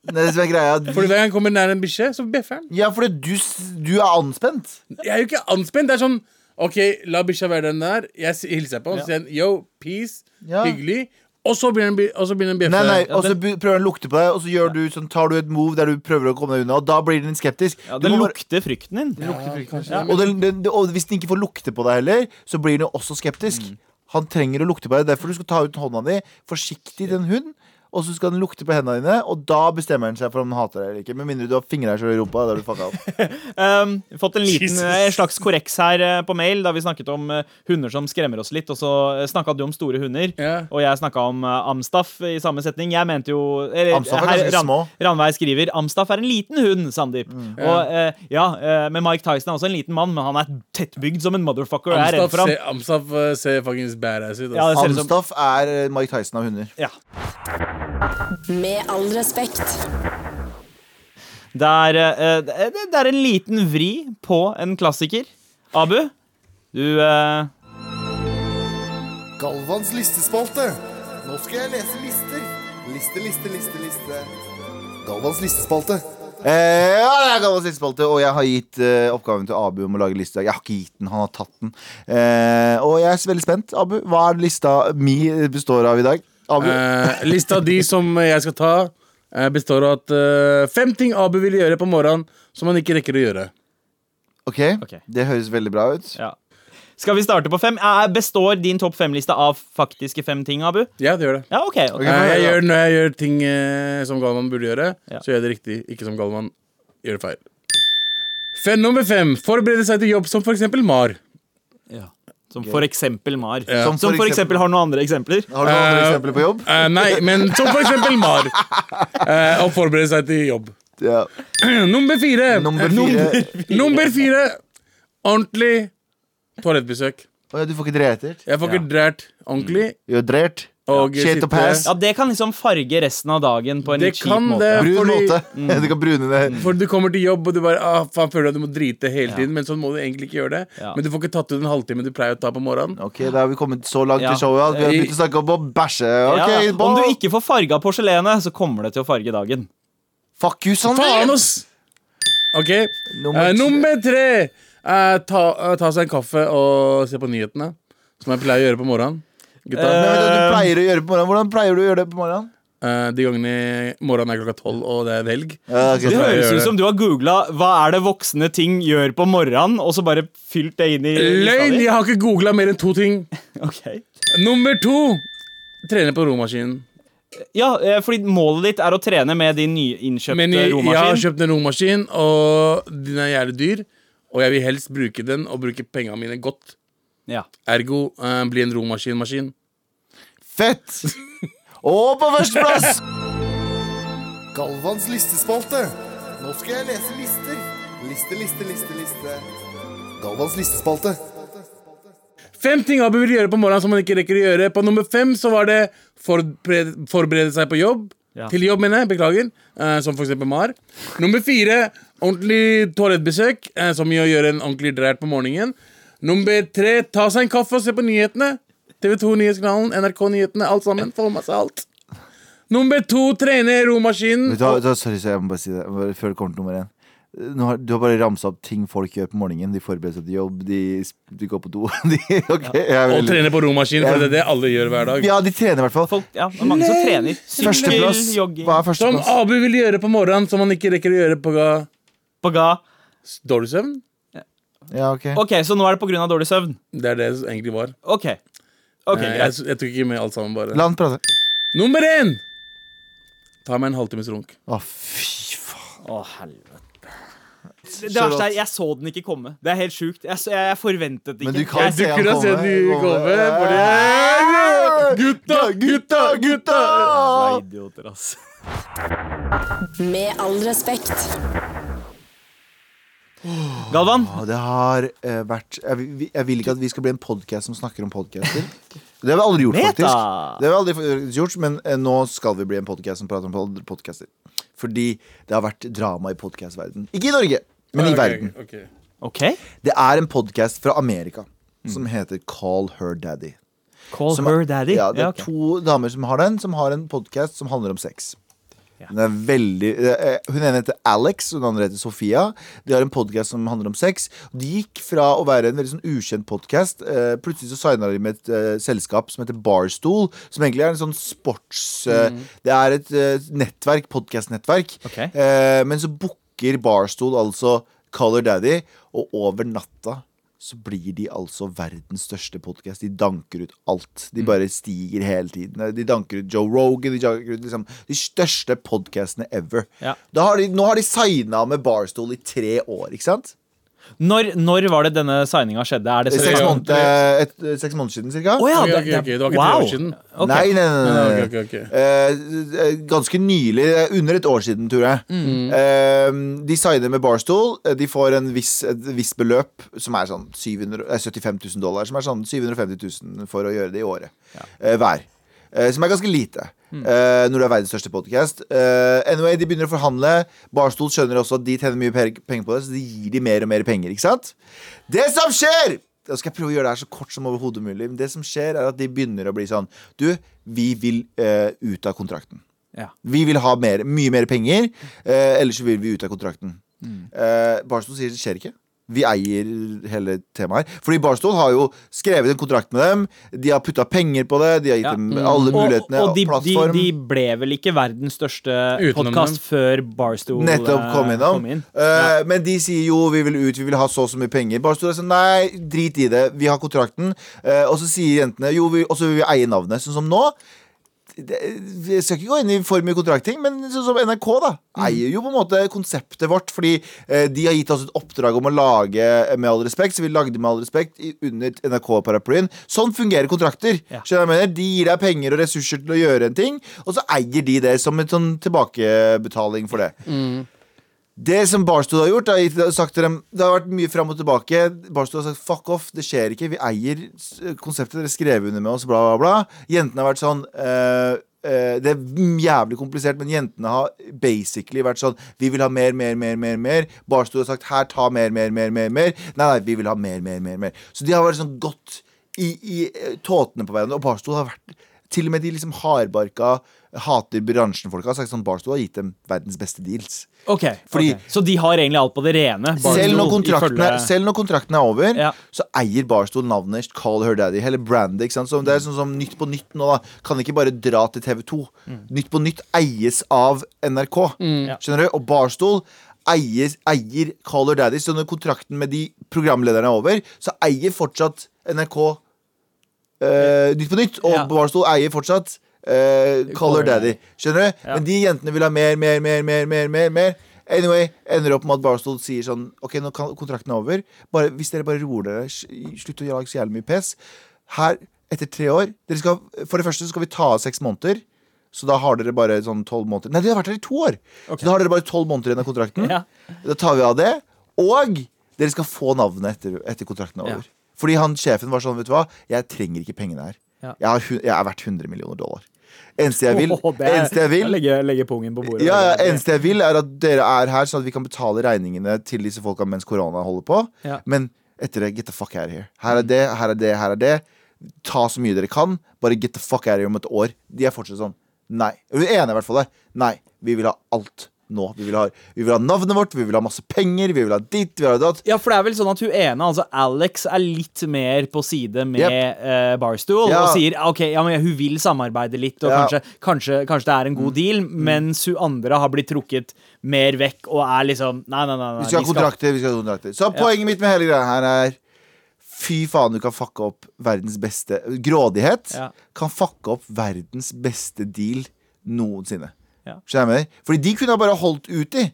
Speaker 4: Det er det som er greia.
Speaker 2: Fordi Hver gang jeg kommer nær en bikkje, så bjeffer den.
Speaker 4: Ja, fordi du, s- du er anspent.
Speaker 2: Jeg er jo ikke anspent. Det er sånn OK, la bikkja være den der. Jeg s- hilser på den og sier den, yo, peace,
Speaker 4: Ja.
Speaker 2: hyggelig. Og så begynner den bi- og så begynner den å
Speaker 4: Nei,
Speaker 2: bjeffe.
Speaker 4: nei, Og så be- prøver den å lukte på deg, og så gjør du sånn, tar du et move der du prøver å komme deg unna, og da blir den skeptisk.
Speaker 3: Ja,
Speaker 4: Du
Speaker 3: det
Speaker 4: må bare-
Speaker 3: lukter frykten din.
Speaker 2: Ja, kanskje det,
Speaker 4: og, den, den, og hvis den ikke får lukte på deg heller, så blir den jo også skeptisk.
Speaker 3: Mm.
Speaker 4: Han trenger å lukte på deg. Derfor du skal ta ut hånda di forsiktig til en hund. Og så skal den lukte på hendene dine, og da bestemmer den seg for om den hater deg eller ikke. Med mindre du har fingra i rumpa. Da er du fucka opp.
Speaker 3: Um, fått en liten
Speaker 2: Jesus.
Speaker 3: eh, slags korreks her eh, på mail, da vi snakket om eh, hunder som skremmer oss litt. Og så uh, snakka du om store hunder,
Speaker 2: Ja.
Speaker 3: og jeg snakka om eh, Amstaff i samme setning. Jeg mente jo eller,
Speaker 4: Amstaff er ganske små.
Speaker 3: Ranveig skriver Amstaff er en liten hund, Sandeep.
Speaker 2: Mm.
Speaker 3: Og eh, ja, eh, men Mike Tyson er også en liten mann, men han er tettbygd som en motherfucker. og Jeg er redd
Speaker 2: Amstaff
Speaker 3: for ham.
Speaker 2: ser- Amstaff eh, ser fuckings badass ut. ass.
Speaker 3: Ja, det ser ut som
Speaker 4: Amstaff er eh, Mike Tyson av hunder.
Speaker 3: ja.
Speaker 1: Med all respekt.
Speaker 3: Det er, eh, det er- det er en liten vri på en klassiker. Abu, du eh,
Speaker 5: Galvans listespalte. Nå skal jeg lese lister. Liste, liste, liste, liste. Galvans listespalte.
Speaker 4: Eh, ja, det er Galvans listespalte, og jeg har gitt eh, oppgaven til Abu om å lage liste. Jeg har ikke gitt den, han har tatt den. Eh, og jeg er veldig spent. Abu, hva er lista mi består av i dag? Abu?
Speaker 2: Eh, lista av de som jeg skal ta, eh, består av at eh, fem ting Abu vil gjøre på morgenen som han ikke rekker å gjøre.
Speaker 4: ok,
Speaker 3: ok.
Speaker 4: det høres veldig bra ut.
Speaker 3: Ja. Skal vi starte på fem? Eh, Består din topp fem-liste av faktiske fem ting, Abu?
Speaker 2: Ja, det gjør det.
Speaker 3: Ja, OK. ok.
Speaker 4: Ja,
Speaker 2: Eh, jeg
Speaker 4: ja.
Speaker 2: gjør, når jeg gjør ting eh, som Galvan burde gjøre,
Speaker 3: Ja.
Speaker 2: så gjør jeg det riktig. Ikke som Galvan gjør det feil. Fem nummer fem. Forberede seg til jobb som f.eks. MAR.
Speaker 3: Som for eksempel Mar.
Speaker 2: Ja.
Speaker 3: Som, for eksempel har noen andre eksempler.
Speaker 4: Har du noen andre
Speaker 2: Eh,
Speaker 4: eksempler på jobb?
Speaker 2: Eh, nei, men som f.eks. MAR. Eh, og forberede seg til jobb.
Speaker 4: Ja.
Speaker 2: nummer fire.
Speaker 4: Nummer fire.
Speaker 2: nummer fire. Ordentlig toalettbesøk.
Speaker 4: Å ja, du får ikke dretert?
Speaker 2: Jeg får ikke drært ordentlig.
Speaker 4: Gjør drert?
Speaker 2: Og
Speaker 4: Shit
Speaker 2: sitte-
Speaker 4: og pass?
Speaker 3: Ja, Det kan liksom farge resten av dagen på en
Speaker 2: Det
Speaker 3: litt
Speaker 2: kan
Speaker 3: kjip måte.
Speaker 2: det.
Speaker 4: Brun
Speaker 2: fordi- Mm.
Speaker 4: måte. Du kan brune det.
Speaker 2: For du kommer til jobb og du bare ah, faen, føler at du må drite hele tiden. Men sånn må du egentlig ikke gjøre det.
Speaker 3: Ja.
Speaker 2: Men du får ikke tatt ut en halvtime du pleier å ta på morgenen.
Speaker 4: Ok, Da har vi kommet så langt
Speaker 3: Ja.
Speaker 4: i showet at vi har
Speaker 2: I-
Speaker 4: begynt å snakke om å bæsje. Ok,
Speaker 3: Ja,
Speaker 4: ball.
Speaker 3: Om du ikke får farga porselenet, så kommer det til å farge dagen.
Speaker 4: Fuck you,
Speaker 2: Faen,
Speaker 4: Sander!
Speaker 2: ass! OK.
Speaker 4: Nummer
Speaker 2: Nummer,
Speaker 4: tre.
Speaker 2: nummer tre. Eh, ta, eh, ta seg en kaffe og se på nyhetene. Som jeg pleier å gjøre på morgenen. Gutta.
Speaker 4: Men vet du hva du pleier å gjøre det på morgenen. Hvordan pleier du å gjøre det på morgenen?
Speaker 2: Eh, de gangene morgenen er klokka tolv og det er helg.
Speaker 4: Ja, ok.
Speaker 3: Det
Speaker 2: jeg
Speaker 3: høres
Speaker 2: gjør
Speaker 3: ut
Speaker 2: det.
Speaker 3: som du har googla 'Hva er det voksne ting gjør på morgenen?' og så bare fylt det inn i lista
Speaker 2: Løgn!
Speaker 3: di.
Speaker 2: Jeg har ikke googla mer enn to ting.
Speaker 3: Ok.
Speaker 2: Nummer to. Trene på romaskinen.
Speaker 3: Ja, eh, fordi målet ditt er å trene med din nyinnkjøpte
Speaker 2: Men jeg, jeg har
Speaker 3: romaskin.
Speaker 2: kjøpt en romaskin, og den er jævlig dyr. Og jeg vil helst bruke den og bruke pengene mine godt.
Speaker 3: Ja.
Speaker 2: Ergo eh, bli en romaskinmaskin.
Speaker 4: Fett! Og på førsteplass!
Speaker 5: Galvans listespalte. Nå skal jeg lese lister. Liste, liste, liste, liste. Galvans listespalte.
Speaker 2: Fem ting Abu vil gjøre på morgenen som han ikke rekker å gjøre. På nummer fem så var det forberede, forberede seg på jobb.
Speaker 3: Ja.
Speaker 2: Til jobb, mener jeg. Beklager. Eh, som for eksempel Mar. Nummer fire ordentlig toalettbesøk, eh, som i å gjøre en ordentlig drært på morgenen. Nummer tre ta seg en kaffe og se på nyhetene. TV2 Nyhetskanalen, NRK Nyhetene, alt sammen. Få med seg alt. Nummer to trene romaskinen. Mm,
Speaker 4: Vet du hva, vet du hva, sorry, sorry, jeg må bare si det bare før det kommer til nummer én. nå har, Du har bare ramsa opp ting folk gjør på morgenen. De forbereder seg til jobb, de, sp- de går på do. De, ok, jeg er
Speaker 2: Og
Speaker 4: veldig-
Speaker 2: trene på romaskin, for det er det alle gjør hver dag.
Speaker 4: ja, de trener i hvert fall.
Speaker 3: Folk, ja, det er mange som trener. Sykkel,
Speaker 4: Førsteplass.
Speaker 3: jogging,
Speaker 4: Hva er
Speaker 2: Som
Speaker 4: førsteplass?
Speaker 2: Abu vil gjøre på morgenen, som han ikke rekker å gjøre på ga-
Speaker 3: baga.
Speaker 2: s- dårlig søvn.
Speaker 4: Ja, ok.
Speaker 3: Ok, så nå er det på grunn av dårlig søvn.
Speaker 2: Det er det det egentlig var.
Speaker 3: Ok. Ok,
Speaker 2: Nei,
Speaker 3: greit.
Speaker 2: Eh, jeg, jeg tok ikke med alt sammen, bare.
Speaker 4: La han prate.
Speaker 2: Nummer én! Ta meg en halvtimes runk.
Speaker 4: Å, fy faen.
Speaker 3: Å, helvete. Det verste er, Jeg så den ikke komme. Det er helt sjukt. Jeg, så- jeg forventet det
Speaker 4: Men
Speaker 3: ikke.
Speaker 4: du kan
Speaker 3: Jeg-
Speaker 4: se han
Speaker 2: Dukker og
Speaker 4: komme.
Speaker 2: ser de komme.
Speaker 4: Ja.
Speaker 2: fordi- Gutta, gutta, gutta!
Speaker 3: Jævla idioter, ass.
Speaker 1: Med all respekt.
Speaker 3: Galvan,
Speaker 4: Ja, det har eh, vært jeg, vil- jeg vil ikke at vi skal bli en podkast som snakker om podcaster. Det har vi aldri gjort,
Speaker 3: Meta!
Speaker 4: faktisk. Det har vi aldri f- gjort, Men eh, nå skal vi bli en podkast som prater om pod- podcaster. Fordi det har vært drama i podkastverden Ikke i Norge, men i
Speaker 2: Ok,
Speaker 4: verden.
Speaker 2: ok.
Speaker 3: OK?
Speaker 4: Det er en podkast fra Amerika som heter Call Her Daddy.
Speaker 3: Mm. Call
Speaker 4: Som er-
Speaker 3: her daddy.
Speaker 4: Ja, det er
Speaker 3: Ja, ok.
Speaker 4: to damer som har den, som har en podkast som handler om sex. Den er veldig, eh, hun ene heter Alex, og den andre heter Sofia. De har en podkast som handler om sex. De gikk fra å være en veldig sånn ukjent podkast eh, Plutselig så signa de med et eh, selskap som heter Barstool, som egentlig er en sånn sports... Eh, Det er et eh, nettverk, podkastnettverk.
Speaker 3: Mm. Ok.
Speaker 4: Eh, men så booker Barstool altså Caller Daddy, og over natta så blir de altså verdens største podkast. De danker ut alt.
Speaker 3: Mm.
Speaker 4: De bare stiger hele tiden. De danker ut Joe Rogan, de danker ut liksom de største podkastene ever.
Speaker 3: Ja.
Speaker 4: Da har de, nå har de signa med Barstool i tre år, ikke sant?
Speaker 3: Når, når var det denne signinga skjedde? Er det
Speaker 4: Seks,
Speaker 2: Ja.
Speaker 4: måneder, et, seks måneder siden, cirka.
Speaker 3: Å ja,
Speaker 2: Ok,
Speaker 3: det-
Speaker 2: ok, ok, det var ikke tre
Speaker 3: wow.
Speaker 2: år siden.
Speaker 3: Ok.
Speaker 4: Nei, nei, nei. nei, nei.
Speaker 2: Ok, ok, ok.
Speaker 4: Eh, eh, ganske nylig, eh, under et år siden, tror jeg.
Speaker 2: Mm.
Speaker 4: Eh, de signer med Barstool. Eh, De får en viss, et visst beløp, som er sånn 700, eh, 75 000 dollar. Som er sånn 750 000 for å gjøre det i året. Eh, hver. Eh, som er ganske lite.
Speaker 2: Mm.
Speaker 4: eh, når det er verdens største podkast. anyway, de begynner å forhandle. Barstool skjønner også at de tjener mye per- penger på det, så de gir de mer og mer penger. ikke sant? Det som skjer Da skal jeg prøve å gjøre det her så kort som overhodet mulig. Men det som skjer, er at de begynner å bli sånn Du, vi vil eh, ut av kontrakten.
Speaker 3: Ja.
Speaker 4: Vi vil ha mer, mye mer penger, eh, ellers så vil vi ut av kontrakten. Eh, Barstol sier det skjer ikke. Vi eier hele temaet her. Fordi Barstol har jo skrevet en kontrakt med dem. De har putta penger på det. De har gitt
Speaker 3: Ja. Mm.
Speaker 4: dem alle mulighetene.
Speaker 3: og, og de, de,
Speaker 4: plattform.
Speaker 3: de ble vel ikke verdens største
Speaker 2: Utenom
Speaker 3: podkast
Speaker 2: dem.
Speaker 3: før Barstool
Speaker 4: Nettopp
Speaker 3: eh,
Speaker 4: kom innom. Eh, Men de sier jo vi vil ut, vi vil ha så og så mye penger. Bare står det sånn, nei, drit i det, vi har kontrakten. Eh, og så sier jentene jo, vi, og så vil vi eie navnet. Sånn som nå. Det, jeg skal ikke gå inn i for mye kontraktting, men sånn som NRK da
Speaker 3: Mm.
Speaker 4: eier jo på en måte konseptet vårt. Fordi eh, de har gitt oss et oppdrag om å lage eh, Med all respekt, så vi lagde Med all respekt i, under NRK-paraplyen. Sånn fungerer kontrakter.
Speaker 3: Ja.
Speaker 4: Skjønner du hva jeg mener? De gir deg penger og ressurser til å gjøre en ting, og så eier de det som en sånn tilbakebetaling for det. Det som Barstool har gjort, er gitt- sagt til dem Det har vært mye fram og tilbake. Barstool har sagt fuck off, det skjer ikke. Vi eier s- eh, konseptet. Dere skrev under med oss, bla, bla, bla. Jentene har vært sånn eh, eh, Det er jævlig komplisert, men jentene har basically vært sånn Vi vil ha mer, mer, mer, mer. mer Barstool har sagt her, ta mer, mer, mer, mer. mer Nei, nei, vi vil ha mer, mer, mer. mer Så de har vært sånn godt i, i eh, tåtene på hverandre. Og Barstool har vært Til og med de liksom hardbarka hater bransjen-folka har sagt sånn Barstool har gitt dem verdens beste deals.
Speaker 3: Ok,
Speaker 4: Fordi-
Speaker 3: ok. Så de har egentlig alt på det rene?
Speaker 4: Selv når,
Speaker 3: Barstool,
Speaker 4: kontrakten er,
Speaker 3: ifølge-
Speaker 4: selv når kontrakten er over,
Speaker 3: Ja.
Speaker 4: så eier Barstool navnet Call Her Daddy. Hele brandet. ikke sant? Så det er sånn som Nytt på Nytt nå, da. Kan ikke bare dra til TV2. Nytt på Nytt eies av NRK.
Speaker 3: Mm. Ja.
Speaker 4: Skjønner du? Og Barstool eier, eier Call Her Daddy. Så når kontrakten med de programlederne er over, så eier fortsatt NRK eh, Nytt på Nytt. Og
Speaker 3: Ja.
Speaker 4: Barstool eier fortsatt eh, Call Her Daddy. Skjønner du?
Speaker 3: Ja.
Speaker 4: Men de jentene vil ha mer, mer, mer, mer, mer, mer, mer. Anyway, ender opp med at Barstool sier sånn Ok, nå kan kontrakten er over. Bare, hvis dere bare roer dere, sj- slutt å lage så jævlig mye pes. Her, etter tre år dere skal, For det første så skal vi ta av seks måneder. Så da har dere bare sånn tolv måneder Nei, dere har vært her i to år! Så da har dere bare tolv måneder igjen av kontrakten.
Speaker 3: Ja.
Speaker 4: Da tar vi av det. Og dere skal få navnet etter, etter kontrakten er
Speaker 3: Ja.
Speaker 4: over. Fordi han sjefen var sånn, vet du hva, jeg trenger ikke pengene her.
Speaker 3: Ja.
Speaker 4: Jeg, har, hu- jeg er verdt 100 millioner dollar. Eneste jeg vil,
Speaker 3: Åh, det er-
Speaker 4: eneste jeg vil
Speaker 3: Legge, legge pungen på bordet.
Speaker 4: ja, ja, eneste jeg vil er at dere er her Sånn at vi kan betale regningene til disse folka Mens korona holder på
Speaker 3: Ja.
Speaker 4: Men etter det, get the fuck out of here Her er det, her er det, her er det Ta så mye dere kan Bare get the fuck out of here om et år De er fortsatt sånn Nei, Eller den ene er i hvert fall det Nei, vi vil ha alt nå. Vi vil, ha, vi vil ha navnet vårt, vi vil ha masse penger, vi vil ha ditt, vi vil ha datt.
Speaker 3: Ja, for det er vel sånn at hun ene, altså Alex, er litt mer på side med
Speaker 4: Yep.
Speaker 3: eh, Barstool
Speaker 4: Ja.
Speaker 3: og sier ok, ja, men hun vil samarbeide litt, og
Speaker 4: Ja. Mm.
Speaker 3: kanskje, kanskje, kanskje det er en god deal, mens hun andre har blitt trukket mer vekk og er liksom Nei, nei, nei. nei
Speaker 4: Vi skal ha kontrakter, vi skal ha kontrakter. Så poenget mitt med hele greia her er Fy faen, du kan fucke opp verdens beste Grådighet
Speaker 3: Ja.
Speaker 4: kan fucke opp verdens beste deal noensinne.
Speaker 3: Ja. Mm.
Speaker 4: Skjønner du hva jeg mener? Fordi de kunne ha bare holdt ut i.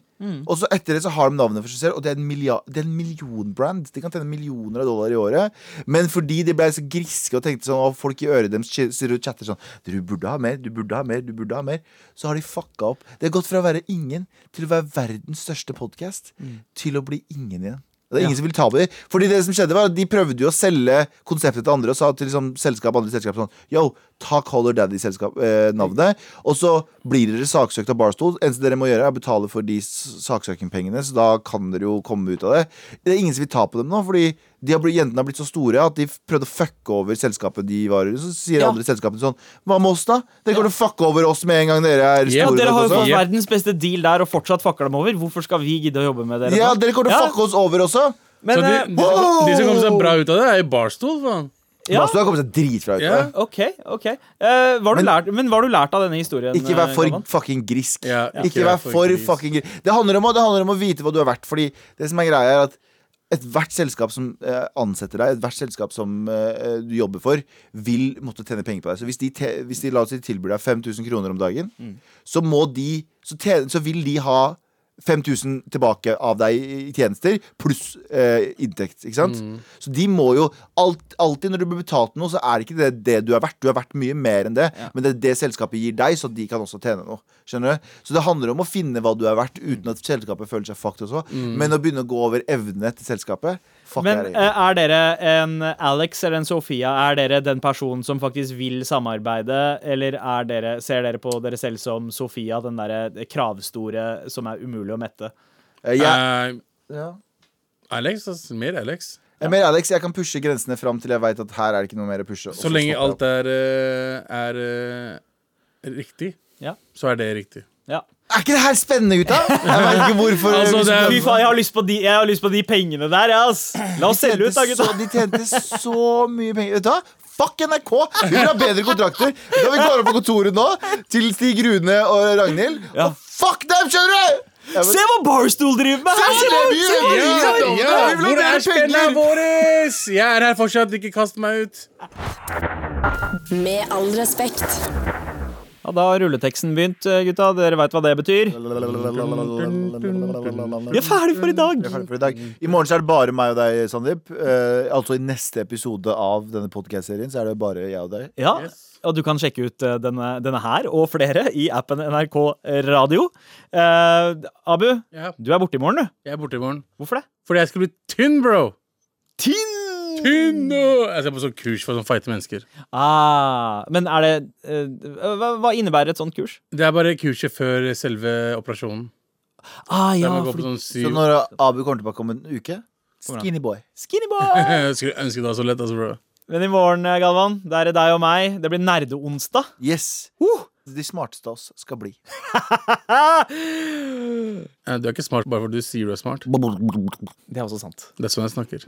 Speaker 4: Og så etter det så har de navnet for seg selv, og det er, en milliard, det er en millionbrand. De kan tjene millioner av dollar i året. Men fordi de ble så griske og tenkte sånn, og folk i øret deres chi- sitter og chatter sånn Du burde ha mer, du burde ha mer, du burde ha mer. Så har de fucka opp. Det har gått fra å være ingen til å være verdens største podkast
Speaker 3: Mm.
Speaker 4: til å bli ingen igjen. Og Det er ingen som vil ta på dem. Fordi det som skjedde var at De prøvde jo å selge konseptet til andre og sa til liksom, selskap, andre selskap sånn Yo, ta Color Daddy-navnet, eh, og så blir dere saksøkt av Barstool. Eneste dere må gjøre, er å betale for de s- saksøkingpengene, så da kan dere jo komme ut av det. Det er ingen som vil ta på dem nå, fordi de har blitt, jentene har blitt så store at de f- prøvde å fucke over selskapet de var i. Så sier
Speaker 3: Ja.
Speaker 4: andre selskapene sånn Hva med oss, da? Dere kommer til å fucke over oss med en gang dere er
Speaker 2: Ja,
Speaker 4: store. sånn.»
Speaker 3: Dere har jo
Speaker 4: nok også.
Speaker 3: fått
Speaker 2: Yep.
Speaker 3: verdens beste deal der og fortsatt fucker dem over. Hvorfor skal vi gidde å jobbe med dere?
Speaker 4: ja,
Speaker 3: nå?
Speaker 4: dere kommer til å
Speaker 3: Ja,
Speaker 4: fucke oss over også.
Speaker 3: Men,
Speaker 2: Så de,
Speaker 3: eh,
Speaker 2: de, de som kom seg bra ut av det, er i Barstool, faen.
Speaker 3: ja,
Speaker 4: Barstool har kommet seg dritbra ut av
Speaker 2: Ja.
Speaker 4: det.
Speaker 3: OK. ok Eh, hva har du
Speaker 4: Men-
Speaker 3: lært, Men hva har du lært av denne historien?
Speaker 4: Ikke vær
Speaker 3: eh,
Speaker 4: for
Speaker 3: Galvan?
Speaker 4: fucking grisk.
Speaker 2: Ja,
Speaker 4: ikke vær for
Speaker 2: gris.
Speaker 4: fucking grisk. Det handler, om, å- det handler om å vite hva du er verdt. Fordi det som er greia, er at ethvert selskap som eh, ansetter deg, ethvert selskap som eh, du jobber for, vil måtte tjene penger på deg. Så hvis de, te hvis de la oss si tilbyr deg 5000 kroner om dagen, så må de så, tjene, så vil de ha 5000 tilbake av deg i tjenester, pluss eh, inntekt. Ikke sant?
Speaker 3: Mm.
Speaker 4: Så de må jo alt, Alltid når du blir betalt noe, så er ikke det det du er verdt. Du er verdt mye mer enn det, men det er det selskapet gir deg, så de kan også tjene noe. Skjønner du? Så det handler om å finne hva du er verdt,
Speaker 3: Mm.
Speaker 4: uten at selskapet føler seg fucked også. Men å begynne å gå over evnene til selskapet Fuck
Speaker 3: Men
Speaker 4: er det.
Speaker 3: eh, er dere en Alex eller en Sofia? Er dere den personen som faktisk vil samarbeide, eller er dere, ser dere på dere selv som Sofia, den derre kravstore som er umulig å mette?
Speaker 4: Eh, jeg,
Speaker 2: Eh,
Speaker 4: ja.
Speaker 2: Alex, ass, mer Alex.
Speaker 4: Jeg er Mer Alex, jeg kan pushe grensene fram til jeg veit at her er det ikke noe mer å pushe. og
Speaker 2: Så
Speaker 4: stopper
Speaker 2: lenge
Speaker 4: jeg
Speaker 2: alt
Speaker 4: opp.
Speaker 2: er, eh, er eh, riktig,
Speaker 3: Ja.
Speaker 2: så er det riktig.
Speaker 3: ja.
Speaker 4: Er ikke det her spennende, gutta? Jeg vet ikke hvorfor liksom-
Speaker 2: Altså, det
Speaker 4: Eh,
Speaker 2: er-
Speaker 3: Fy faen, jeg har lyst på de, jeg har lyst på de pengene der, jeg, ass! La oss
Speaker 4: De
Speaker 3: selge ut, da,
Speaker 4: tjente
Speaker 3: gutta.
Speaker 4: så- De tjente så mye penger. Vet du hva? Fuck NRK! Vi vil ha bedre kontrakter. Da vi går opp på kontoret nå til Stig Rune og Ragnhild.
Speaker 3: Ja.
Speaker 4: Og fuck dem, skjønner du! Jeg
Speaker 3: Se hva Barstool driver med! her,
Speaker 4: Se
Speaker 3: se
Speaker 4: hva
Speaker 3: hva-
Speaker 4: de gjør!
Speaker 3: se hva de gjør!
Speaker 4: Ja, ja. Vi vil ha
Speaker 2: Hvor
Speaker 4: mer
Speaker 2: er spenna
Speaker 4: penger!
Speaker 2: våres? Jeg er her fortsatt, ikke kast meg ut.
Speaker 1: Med all respekt.
Speaker 3: Ja, da har rulleteksten begynt, eh, gutta. Dere veit hva det betyr. Vi er ferdig for i dag.
Speaker 4: er ferdig for I dag I morgen så er det bare meg og deg, Sandeep. Eh, altså i neste episode av denne podkast-serien så er det bare jeg og deg.
Speaker 3: Ja,
Speaker 2: Yes.
Speaker 3: og du kan sjekke ut eh, denne, denne her og flere i appen NRK Radio. Eh, Abu,
Speaker 2: Ja,
Speaker 3: du er borte i morgen, du.
Speaker 2: jeg er borte i morgen.
Speaker 3: Hvorfor det?
Speaker 2: Fordi jeg skal bli tynn, bro.
Speaker 3: Tinn!
Speaker 2: Tynn og Jeg skal på sånn kurs for sånn feite mennesker.
Speaker 3: Ah, men er det eh, hva, hva innebærer et sånt kurs?
Speaker 2: Det er bare kurset før selve operasjonen.
Speaker 3: Ah,
Speaker 2: Der
Speaker 3: ja,
Speaker 2: man går på
Speaker 3: fordi,
Speaker 2: sånn
Speaker 4: Så
Speaker 2: syv
Speaker 4: når Abu kommer tilbake om en uke Skinny boy.
Speaker 3: Skinny boy!
Speaker 2: Skulle ønske det var så lett, altså, bro.
Speaker 3: Men i morgen, eh, Galvan, det er deg og meg. Det blir nerdeonsdag.
Speaker 4: Yes.
Speaker 3: Uh!
Speaker 4: De smarteste av oss skal bli.
Speaker 3: Ah!
Speaker 2: Eh, Du er ikke smart bare fordi du sier du er smart.
Speaker 3: Det er også sant.
Speaker 2: Det er sånn jeg snakker.